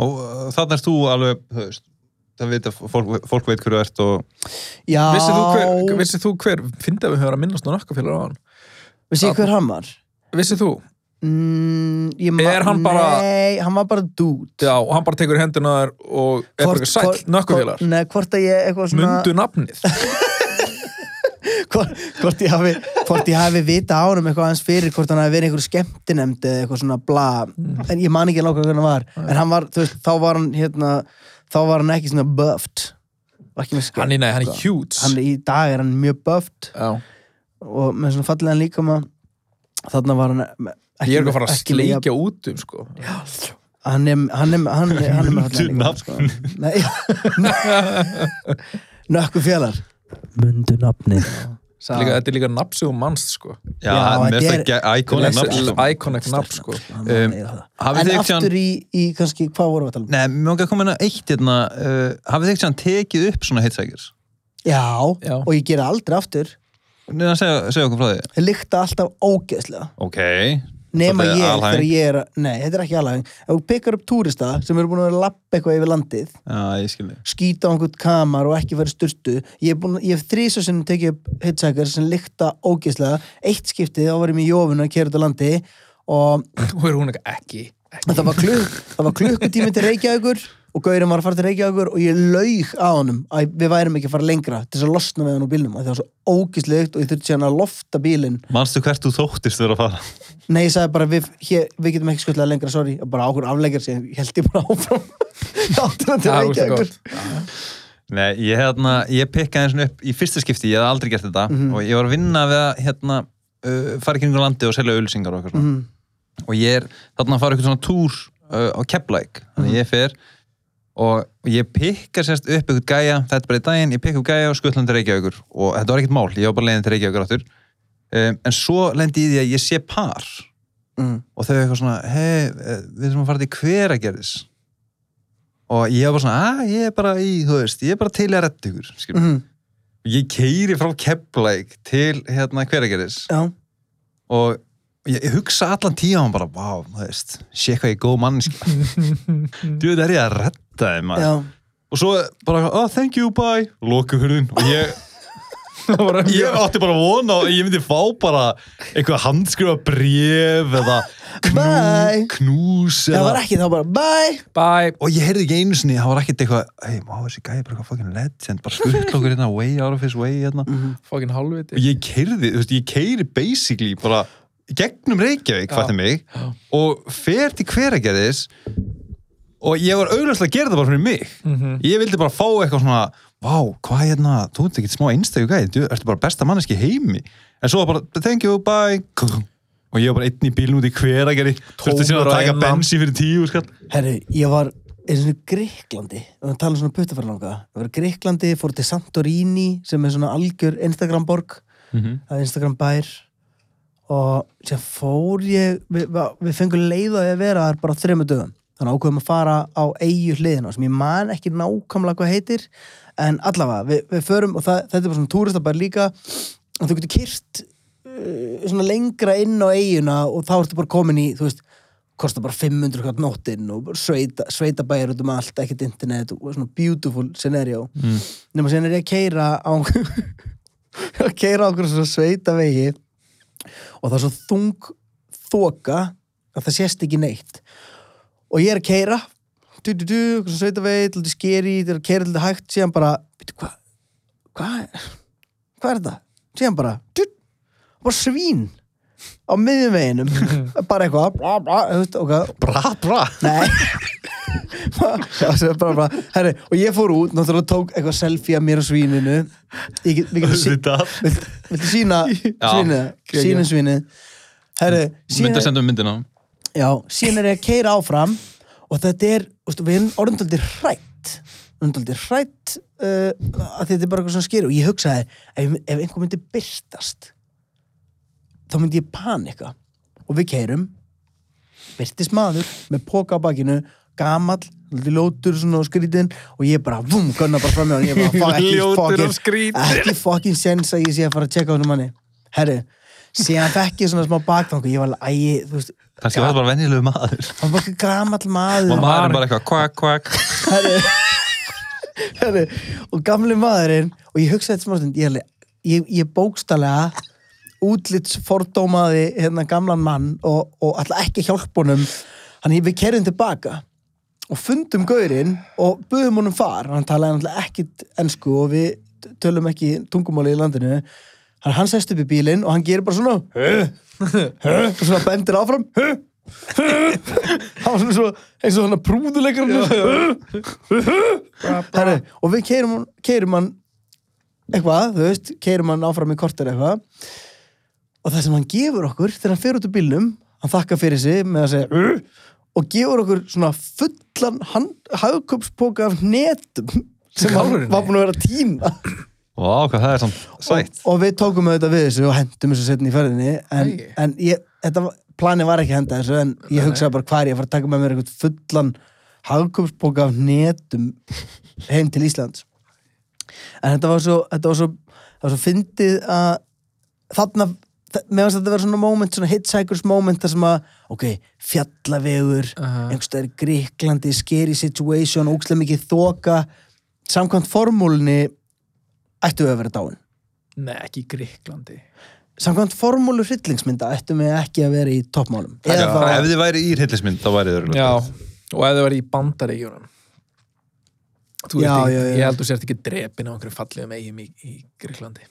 og uh, þarna ert þú alveg, þú veist það veit að fólk, fólk veit hverju þú ert og já, Vissið þú hver, vissið þú hver, finnst að við höfum að minnast á nakkafélagur á hann? vissið þið hver hann var? Vissið þú? Mm, ég ma- Er hann bara- nei, hann var bara dude Já, og hann bara tekur hendina þar og er bara eitthvað hvort- sæll nakkafélagur. hvort- nei, hvort að ég eitthvað svona Mundu nafnið. sko. hvort, hvort, ég hafi, hvort ég hafi vita á honum eitthvað aðeins fyrir hvort hann hafi verið einhver skemmtinemnd eða eitthvað svona bla Mm. en ég man ekki alveg hvernig hann var en hann var, þú veist, þá var hann hérna, þá var hann ekki svona buffed Var ekki með skegg. Hann er, nei, hann er huge. hann, í dag er hann mjög buffed Já. og með svona fallegan líkama þarna var hann eh, ekki, Ég er ekki að fara að ekki með jafn- sleikja út um, sko. hann er hann er, hann er, hann er með fallegan líkama sko. Nei, nökku fjallar mundu nafni Líka, þetta er líka nafnsugum manns, sko. já, Já, já þetta mest er- að íkona Iconic nafn, sko. Um, hafið en þið ekki aftur í, í kannski, hvað vorum við að tala um? Nei, mér langar að koma inn að eitt hérna, uh, hafið þið ekki hann tekið upp svona heitsækjur? Já, Já. og ég gera aldrei aftur Neina, segja, segja okkur frá því. Þeir lykta alltaf ógeðslega Ok. nema Svolítið ég þegar alhæfing. ég er að, nei, þetta er ekki alhæfing ef þú pikkar upp túrista sem eru búin að vera að lappa eitthvað yfir landið Já, ég skilji. skýta á einhvern kamar og ekki verið sturtu ég hef, búin- ég hef þrísa sem tekið upp hitsækar sem lykta ógeðslega eitt skiptið, þá var ég með jófun að kera út á landi og Og er hún eitthvað ekki. ekki. það var, klukk, það var klukkutími til Reykjavíkur og Gaurinn var að fara til Reykjavíkur og ég laug á honum að við værum ekki að fara lengra til þess að losna með hann úr bílnum af því það var svo ógeðslegt og ég þurfti síðan að lofta bílinn Manstu hvert þú þóttist þurfa að fara? Nei, ég sagði bara, við, hér, við getum ekki skuldlega lengra, sorry, og bara ákvör afleggjar sem ég held ég bara áfram. Þáttur hann til Það er úrstu Reykjavíkur. gott. Nei, ég, hérna, ég pikkaði svona upp í fyrsta skipti, ég hef aldrei gert þetta Mhm. og ég var að vinna við að hérna, uh, fara í kringu landi og selja ölsingar og eitthvað svona. Mhm, Og ég er þarna að fara eitthvað svona túr uh, á Keflæk, þannig ég fer og ég pikka sérst upp eitthvað gæja, þetta er bara í daginn, ég pikka upp gæja og skuttlan til Reykjavíkur og þetta var ekkert mál, ég var bara leiðin til Reykjavíkur áttur. Um, en svo lendi ég í því að ég sé par Mm. og þau eitthvað svona, hei, við erum að fara til hveragerðis og ég var bara svona, að ég er bara í, þú veist, ég er bara til að retta ykkur, skilur. Mhm, Ég keiri frá Keflæk til hérna hveragerðis Já, og ég, ég hugsa allan tíðan bara, vá, þú veist, sé hvað ég er góð mannskja. Þú veit, er ég að retta þeim, maður. já. Og svo bara, oh, thank you, bye, loku hurðin og ég... Það var Ég mjög- átti bara að vona að ég myndi fá bara eitthvað handskrifa bref eða knú, Bye. knús Það eða var ekki þá bara, bye! Bye. og ég heyrði ekki einu sinni, það var ekkert eitthvað hei, má þessi gæði bara eitthvað fucking legend bara skutt okkur hérna, way out of his way Mm. hérna. Fokkin og halvviti. ég keyrði, þú veist, ég keyrði basically bara gegnum Reykjavík, Já. fætti mig Já. og fer til hveragerðis og ég var augljóslega að gera það bara fyrir mig Mhm. ég vildi bara fá eitthvað svona vá, hvað hérna, þú ert ekkert smá einstakju gæði þú ertu bara besta manneski í heimi en svo var bara, thank you, bye og ég var bara einn í bílnum út í hveragerði þurfti síðan Tómur að og taka einmana. bensi fyrir tíu skall Herru, ég var, er svona Greiklandi, við varum að tala um svona puttafærlanga, ég var í Greiklandi, fór til Santorini, sem er svona algjör Instagram-borg, það er Instagram-bær, og sem fór ég, við, við- við fengum leið á því að vera þar bara á þremur dögum. Þannig ákveðum að fara á eigu hliðina sem ég man ekki nákvæmlega hvað heitir en allavega, við, við förum og það, þetta er bara svona túristabær líka og þú getur kyrt uh, svona lengra inn á eiguna og þá ertu bara komin í, þú veist kostar bara 500 kvart nóttinn og bara sveita, sveitabæjar út um allt, ekkert internet og svona beautiful scenario mm. nema síðan er ég að keira á að keira á okkur svona sveitavegi og það er svo þung þoka að það sést ekki neitt og ég er að keira du du du, eitthvað svona sveitavegi, til þetta skeri til að keira til þetta hægt, síðan bara veitu hvað, hvað er hvað er þetta? síðan bara du, bara svín á miðjum veginum bara eitthvað bla, bla, þú veist, ok, Bra, bra. Nei Já, svo bara, bara, herri, og ég fór út, náttúrulega tók eitthvað selfie að mér og svíninu Ég get- við getum sí- Auðvitað. Vilt- Viltu sína Já. svínið? Sína svínið Herri, Mynd að síðan senda um myndina. já, síðan er ég að keira áfram og þetta er, veistu, við erum orðindaldi hrætt orðindaldi hrætt uh, að þetta er bara eitthvað sem sker og ég hugsaði, ef, ef einhver myndi byrtast þá myndi ég panika og við keirum byrtist maður með póka á bakinu gamall, ljótur ljótur svona og skrítinn og ég bara, vum, gunna bara fram hjá hann ég bara, fuck, ekki, Ljótur og fucking- skrýtinn. ekki fucking sens að ég sé að fara að tjekka á hennum manni herri, síðan fekk ég svona smá baktangu, ég var alveg, æ, ég, þú veist Kannski var það bara venjulegu maður. hann var bara gamall maður Og maður er bara eitthvað kvak, kvak. herri, herri, og gamli maðurinn og ég hugsaði þetta smá stund ég, alveg- ég, ég bókstallega útlits fordómaði hérna gamlan mann og, og alltaf ekki hjálp honum hann ég við kerjum tilbaka og fundum gaurinn og buðum honum far hann talaði alltaf ekkit ensku og við t- tölum ekki tungumáli í landinu hann, hann sest upp í bílinn og hann gerir bara svona "Huh? Huh?" og svona bendir áfram "Huh? Huh?" hann var svona svo, eins og svona prúðuleikar Herri, og við keirum, keirum hann eitthvað, þú veist, keirum hann áfram í kortir eitthvað og það sem hann gefur okkur þegar hann fer út úr bílnum hann þakkar fyrir sig með að segja "Ugh", og gefur okkur svona fullan hand- hagkupspoka af netum sem hann Alvörunni? var búin að vera að tíma Vá, hvað það er samt sætt. og við tókum auðvitað við þessu og hendum þessu setni í ferðinni en, Æi. en ég, þetta var- planið var ekki að henda þessu en ég hugsaði bara hvað er ég að fara að taka með mér eitthvað fullan hagkupsbóka af netum heim til Íslands en þetta var svo þetta var svo, það var svo fyndið að þarna þa- mér finnst þetta að vera svona moment, svona hitchhikers moment þar sem að, ok, fjallavegur Aha. einhverstaðar Gríklandi scary situation, ógstlega mikið þoka samkvæmt formúlunni ættu við að vera dáin Nei, ekki í Gríklandi samkvæmt formúlu hryllingsmynda ættum við ekki að vera í toppmálum Ef eða bara, þið væri í hryllismynd, þá væri þið örugglega Já, og ef þau væri í bandaríkjunum Þú Já, ert ekki, já, já. ég held þú sért ekki drepin á einhverjum fallegum eigum í, í Gríklandi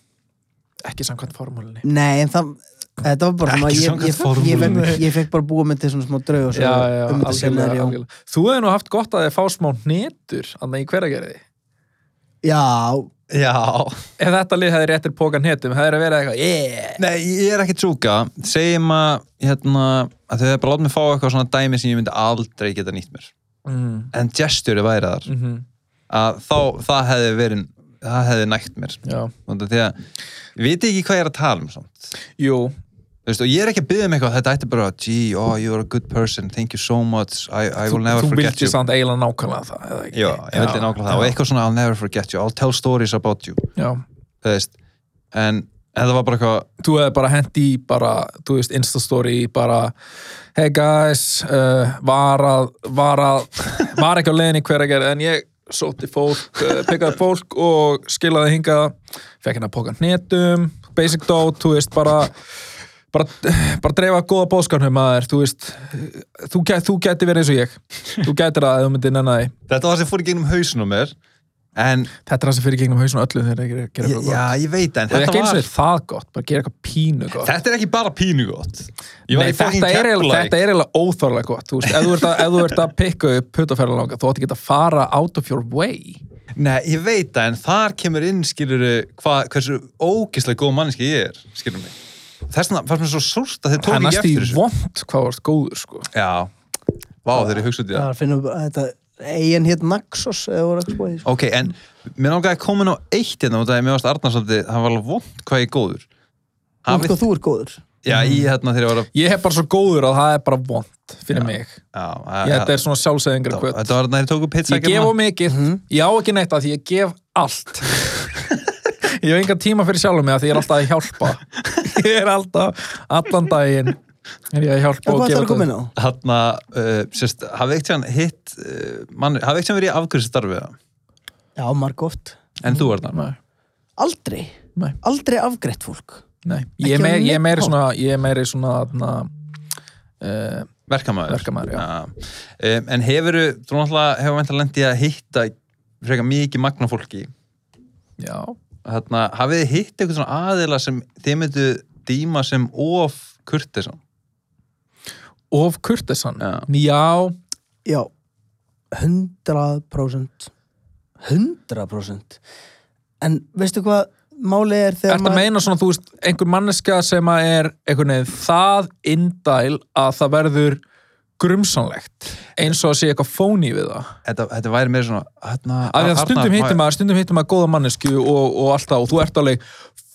ekki samkvæmt formúlinni nei en það þetta var bara svona Ekki ég, samkvæmt ég, ég, ég, formúlunni. fekk- ég fekk bara búa með til svona smá draug og Já, svona já, um þetta algjörlega, scenario. algjörlega. Þú hefði nú haft gott að þið fá smá hnetur annað í hveragerði já, Já. Ef þetta lið hefði réttir póka hnetum hefði það verið eitthvað, yeah Nei, ég er ekki trúka. Segjum að, hérna, að þau hefur bara látið mig fá eitthvað svona dæmi sem ég myndi aldrei geta nýtt mér. mm. En gesturi væri þar. Mm Að þá, það hefði verið, það hefði nægt mér. Já, Og það því að, ég veit ekki hvað ég er að tala um samt. jú, Þú veist, og ég er ekki að byggja um eitthvað, þetta ætti bara, gee, oh, you're a good person, thank you so much, I, I þú, will never þú forget vildi you. samt eiginlega nákvæmlega það eða ekki? Já, ég vildi nákvæmlega það og eitthvað svona I'll never forget you, I'll tell stories about you Já, þú veist, en þetta var bara eitthvað þú hefði bara hent í bara, þú veist, instastory bara, hey guys uh, var að var, að, var ekki á leiðin í hveragerð en ég sótti fólk, uh, pikkaði fólk og skilaði hinga fekk hérna að póka hnetum, basic dot þú veist, bara bara, bara dreifa góða bóðskarnum að þér þú veist, þú, gæ, þú gæti verið eins og ég þú gætir það að þú myndir nenni því þetta var það sem fór í gegnum hausin á mér en, þetta er það sem fyrir gegnum hausin á öllu þegar þeir gera- gera já, eitthvað gott ég veit en og þetta ekki eins og var, þeir það gott, bara gera eitthvað pínu gott þetta er ekki bara pínu gott ég var Nei, í þetta, fucking er eiginlega, Keflavík. þetta er eiginlega óþarlega gott þú veist, ef þú ert að, ef þú ert að pikka upp puttaferðalanga, þú átt ekki að fara out of your way nei, ég veit það, en þar kemur inn skilur hva, hversu ógislega góð manneski ég er, skilur mig þess vegna fannst mér svo súrt að það þið er tók ekki næst í eftir þessu vond hvað þú ert góður sko. já, vá, þeir eru hugsa út í það það finnum við bara þetta eigin hétt Naxos eða voru ekki spóið ok, en mér náttúrulega komin á eitt hérna út af því að mér varst Arnarsaldi, hann var alveg vond hvað ég er góður og Hafið- þú er góður Já, í hérna þegar ég var að ég hef bara svo góður að það er bara vond fyrir mig, Já, ég, þetta er svona sjálfsæðingar Þetta kvöld, þetta var þannig að Mhm. ég tóku pizza ég gef á mikið ég á ekki neitt að því ég gef allt ég hef engan tíma fyrir sjálfum mig að því ég er alltaf að hjálpa ég er alltaf, allan daginn er ég að já, hjálpa hvað og ætlar gefa að koma inn á? Hanna, uh, sérst, hafði eitt hann hitt uh, mann, hafði eitt hann verið í afgjörstarfið já, margótt, en þú er það Nei, aldrei nei aldrei afgreitt fólk Nei, Ekki ég er, á meir, ég er neinn meiri hátt. svona, ég er meiri svona na, uh, verkamaður, Verkamaður, já. Um, en hefur þú náttúrulega hefur vant að lendi að hitta frekar mikið magna fólki já, Þarna, hafið þið hitt eitthvað svona aðila sem þið myndu dýma sem of kurtesan Of Kurtesan Já. Já, Já, 100% 100% En veistu hvað máli er þegar Ertu að meina svona, þú veist, einhver manneska sem að er einhvern veginn það indæl að það verður grumsanlegt eins og að sé eitthvað fóni við það þetta, þetta væri meira svona hérna, af því að stundum hittum maður, stundum hittum maður góða mannesku og, og alltaf og þú ert alveg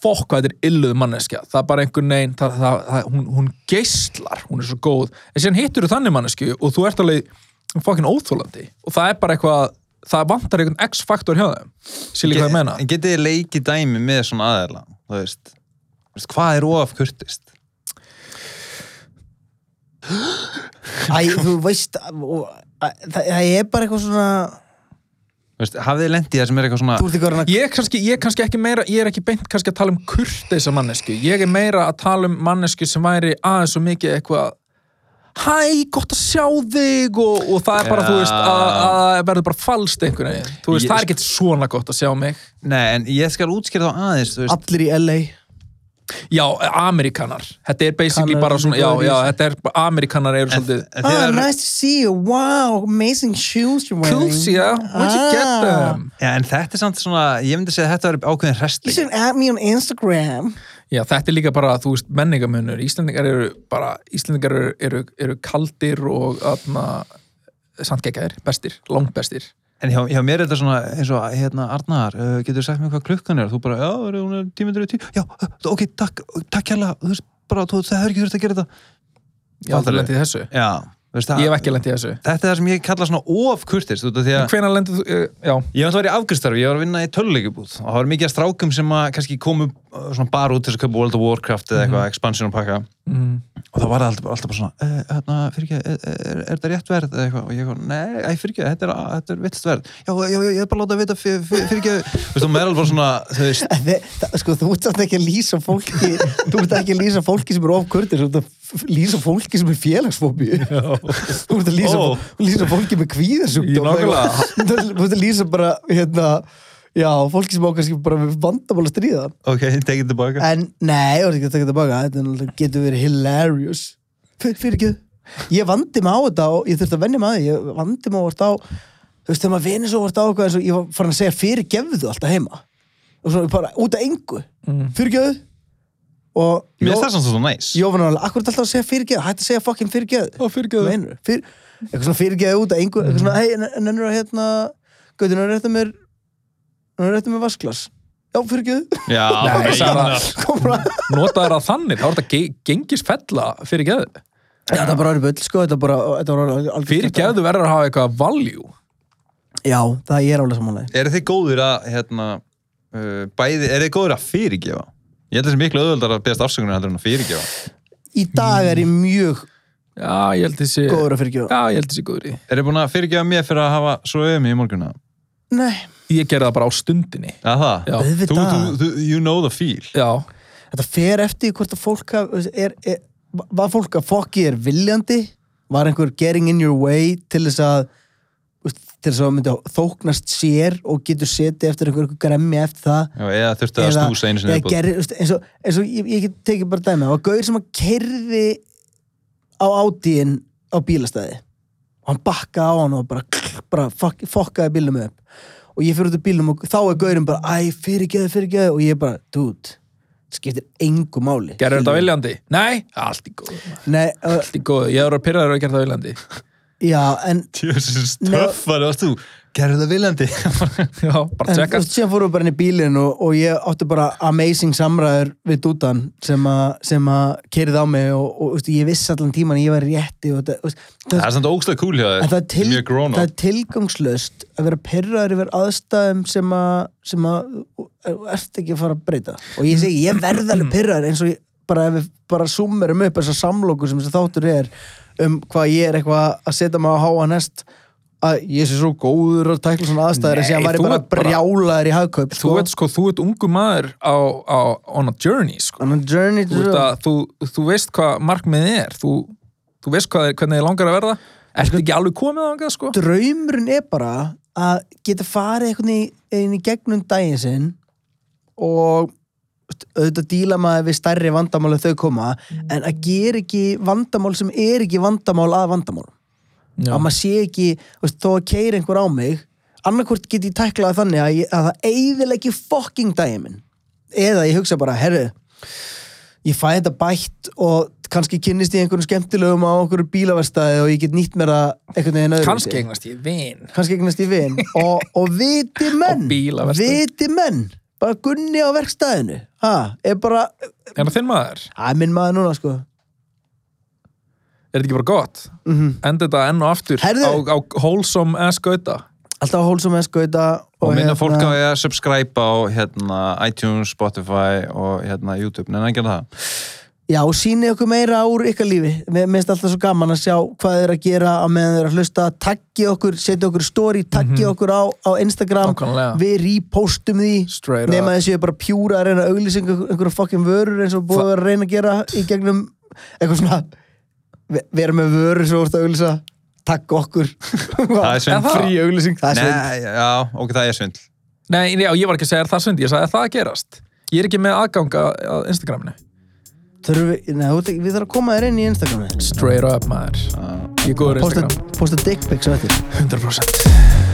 fokk hvað þetta er illuð manneskja það er bara einhvern veginn, það, það, það, hún, hún geislar, hún er svo góð en síðan hittur þú þannig mannesku og þú ert alveg fokkin óþólandi og það er bara eitthvað, það vantar einhvern x-faktor hjá þeim, síl ég hvað ég meina en getið þið leikið dæmi með svona aðeila þú veist, Þú veist, hvað er of kurtist Æ, þú veist og, æ, það, það er bara eitthvað svona Þú veist, hafið þið lendið það sem er eitthvað svona Þú ert ekki að reyna ég er kannski, ég er kannski ekki meira ég er ekki beint kannski að tala um kurteisa mannesku ég er meira að tala um mannesku sem væri aðeins og mikið eitthvað hæ, gott að sjá þig og, og það er bara, Já. þú veist, að, að verður bara falskt einhvern veginn, þú veist, Ég- það er ekkert svona gott að sjá mig nei, en ég skal útskýra þá aðeins þú veist, allir í LA já, Amerikanar, þetta er basically Kanar bara svona, já, eru já, góðir í þetta er, Amerikanar eru en, svolítið en Ah, þegar, nice to see you, wow, amazing shoes you're wearing cool, yeah, where'd you get them já, en þetta er samt svona ég myndi segja að þetta er ákveðin You restling should add me on Instagram Já, þetta er líka bara, þú veist, menningamunur. Íslendingar eru bara, Íslendingar eru, eru, eru kaldir og atna, samt geggjaðir, bestir, langbestir. en hjá, hjá mér er þetta svona eins og hérna Arnar, uh, getur sagt mér hvað klukkan er þú bara, já, er hún er tímyndur í tíu já, uh, ok, takk, takk hérlega þú veist, bara, þú, það er ekki þurft að gera Ég þetta hef aldrei Aldrei. lendið í þessu. já, þú veist, Ég það, hef ekki lendið í þessu. þetta er það sem ég kalla svona of kurtist, þú veist, af því að Hvenær lendið þú, eh, já, Ég var í afgriðstarfi, ég var að vinna í töluleikubúð og það var mikið af strákum sem að kannski komu uh, svona bara út til þess að köpa World of Warcraft eða Mhm. eitthvað, expansion og pakka mm, og það var það alltaf, alltaf bara svona e, hérna, fyrir ekki, er, er, er þetta rétt verð eða eitthvað og ég kom, nei, æ, fyrir ekki, þetta er, þetta er vilt verð já, já, já, ég er bara að láta að vita fyrir, fyrir ekki, þú veist, og meðal bara svona þú veist, En þe- það- Sko, þú ert samt ekki að lýsa fólki þú ert ekki að lýsa fólki sem er of kurtis þú ert að f- lýsa fólki sem er félagsfóbi þú ert að lýsa, Ó. lýsa fólki með kvíðasugdóm Í nákvæmlega. þú ert þú ert að lýsa bara hérna, já, fólki sem á kannski bara með vandamál að stríða ok, take it Eh, tilbaka en nei, þú ert ekki að taka þetta baka þetta er náttúrulega- getur verið hilarious fyrir, fyrir ekki ég vandi mig á þetta og ég þurfti að venni mig að því ég vandi mig á þetta á þú veist, þegar maður vinir svo vart á eitthvað eins og ég var farin að segja fyrir gefðu alltaf heima og svona bara út af engu mm. fyrir gefðu og mér finnst það svona svo næs Jófana alveg, akkur er alltaf að segja fyrir gefðu hætti að segja fucking fyrir gefðu Og fyrirgeðu. meinur, fyrir, eitthvað svona fyrir gefðu út af engu eitthvað Mm. svona, hei, nennur að hérna gauti, nennur að rétta mér nennur að rétta mér vasklas já, fyrir gefðu, já, Nei, ok, Sara. já. komra Notaður að þannig, þá er þetta ge gengis fella fyrirgeðu. Já, það er bara orðið bull, sko, þetta er bara, þetta er orðið algjör- Fyrirgeðu verður að hafa eitthvað value. Já, það er alveg samanlega. eru þið góðir að hérna, uh, bæði, eru þið góðir að fyrirgefa ég held þessi miklu auðvöldar að beðast afsökunar heldur en að fyrirgefa Í dag er ég Mm. mjög Já, ég held Eh, þessi, góður að fyrirgefa. já, ég held þessi góður í. Er þið búin að fyrirgefa mér fyrir að hafa svo öfum í morgunna? Nei, Ég gerði það bara á stundinni. Að það? Já. Þú, auðvitað. þú, þú, you know the feel. Já, Þetta fer eftir hvort að fólk haf, er, er, var fólk að fokki er viljandi, var einhver getting in your way til þess að þú veist, til þess að það myndi að þóknast sér og getur setið eftir einhver, einhver gremmi eftir það Já, eða þurfti að snúsa einu sinni eða viðbót. gerði, þú veist, eins og, eins og ég, ég get tekið bara dæmi, það var gauður sem að kerði á átíin á bílastæði og hann bakkaði á hann og bara, klr, bara fokk, fokkaði bílum upp og ég fyrir út af bílum og þá er gauðurinn bara æ, fyrirgeðu, fyrirgeðu og ég bara, dude þetta skiptir engu máli gerði þetta viljandi? Nei, allt í góðu. maður. Nei, uh, Allt í góðu, ég voru að pyrra þér að gera það viljandi. já, en Tjóðsins töffar og þú, gerðu það viljandi. Já, bara En tjekka. þú- síðan fórum við bara inn í bílinn og, og ég átti bara amazing samræður við dútan sem, a, sem að kerið á mig og, og veistu, ég vissi allan tíman að ég var rétti og, þetta- veistu, það er samt ógstað kúl hjá En þér. það er, til, Mjög grown það up. er tilgangslöst að vera pyrraður yfir aðstæðum sem að sem að þú ert ekki að fara að breyta og ég segi, ég verð alveg pyrraður eins og ég, bara ef við bara summerum upp þessar samlokur sem þessi þáttur er um hvað ég er eitthvað að setja mig á háan hest að ég sé svo góður að tækla svona aðstæður Nei, að sé að væri þú bara ert bara- brjálaður í hagkaup þú sko. ert sko, þú ert ungu maður á, á, on a journey sko. On a journey þú, to ert að, þú, þú veist hvað markmiðið er þú, þú veist hvað, hvernig þið langar að verða Sko- ertu ekki alveg komið þangað sko draumurinn er bara að geta farið einhvern veginn í gegnum daginn sinn og auðvitað díla maður við stærri vandamál að þau koma Mm. en að gera ekki vandamál sem er ekki vandamál að vandamál Já. að maður sé ekki, þú veist, þó að keira einhver á mig annarkvort get ég tæklað þannig að, ég, að það eiginlega ekki fucking daginn minn eða ég hugsa bara, herru ég fæ þetta bætt og kannski kynnist ég einhvern skemmtilegum á einhverju bílaverstaði og ég get nýtt mér að einhvern veginn öðru kannski eignast ég vin kannski eignast í vin og, og viti menn Á bílaverkstæði. viti menn bara gunni á verkstæðinu ha, er bara, er það þinn maður? að minn maður núna sko er þetta ekki bara gott? mm enda þetta enn og aftur Herðu. á, á wholesome ass gauta alltaf hólsum eða skauta og minna hérna- fólk á að subscribe á hérna, iTunes, Spotify og hérna, YouTube, neina að gera það Já, og síni okkur meira úr ykkar lífi. Mér mér finnst alltaf svo gaman að sjá hvað þið er að gera á meðan þið er að hlusta. Takki okkur, setja okkur stóri, takki Mhm. okkur á, á Instagram. Nákvæmlega. Við repostum því, Straight up. nema þessi er bara pjúra að reyna að auglýsinga einhverja fucking vörur eins og búið að vera að reyna að gera í gegnum eitthvað svona ve- vera með vörur svo úrst að auglýsa. Takk okkur. er svindl. Frí auglýsing, það er svindl. Nei, já, ok, það er svindl nei, nei, já, ég var ekki að segja er það svindi ég sagði er það að gerast ég er ekki með aðganga á Instagraminu Þurfum Við, nei, þú ert ekki- við þarfum að koma þér inn í Instagramið. Ah. straight up maður ég er góður á Posta, Instagram posta dick pics á þetta. 100%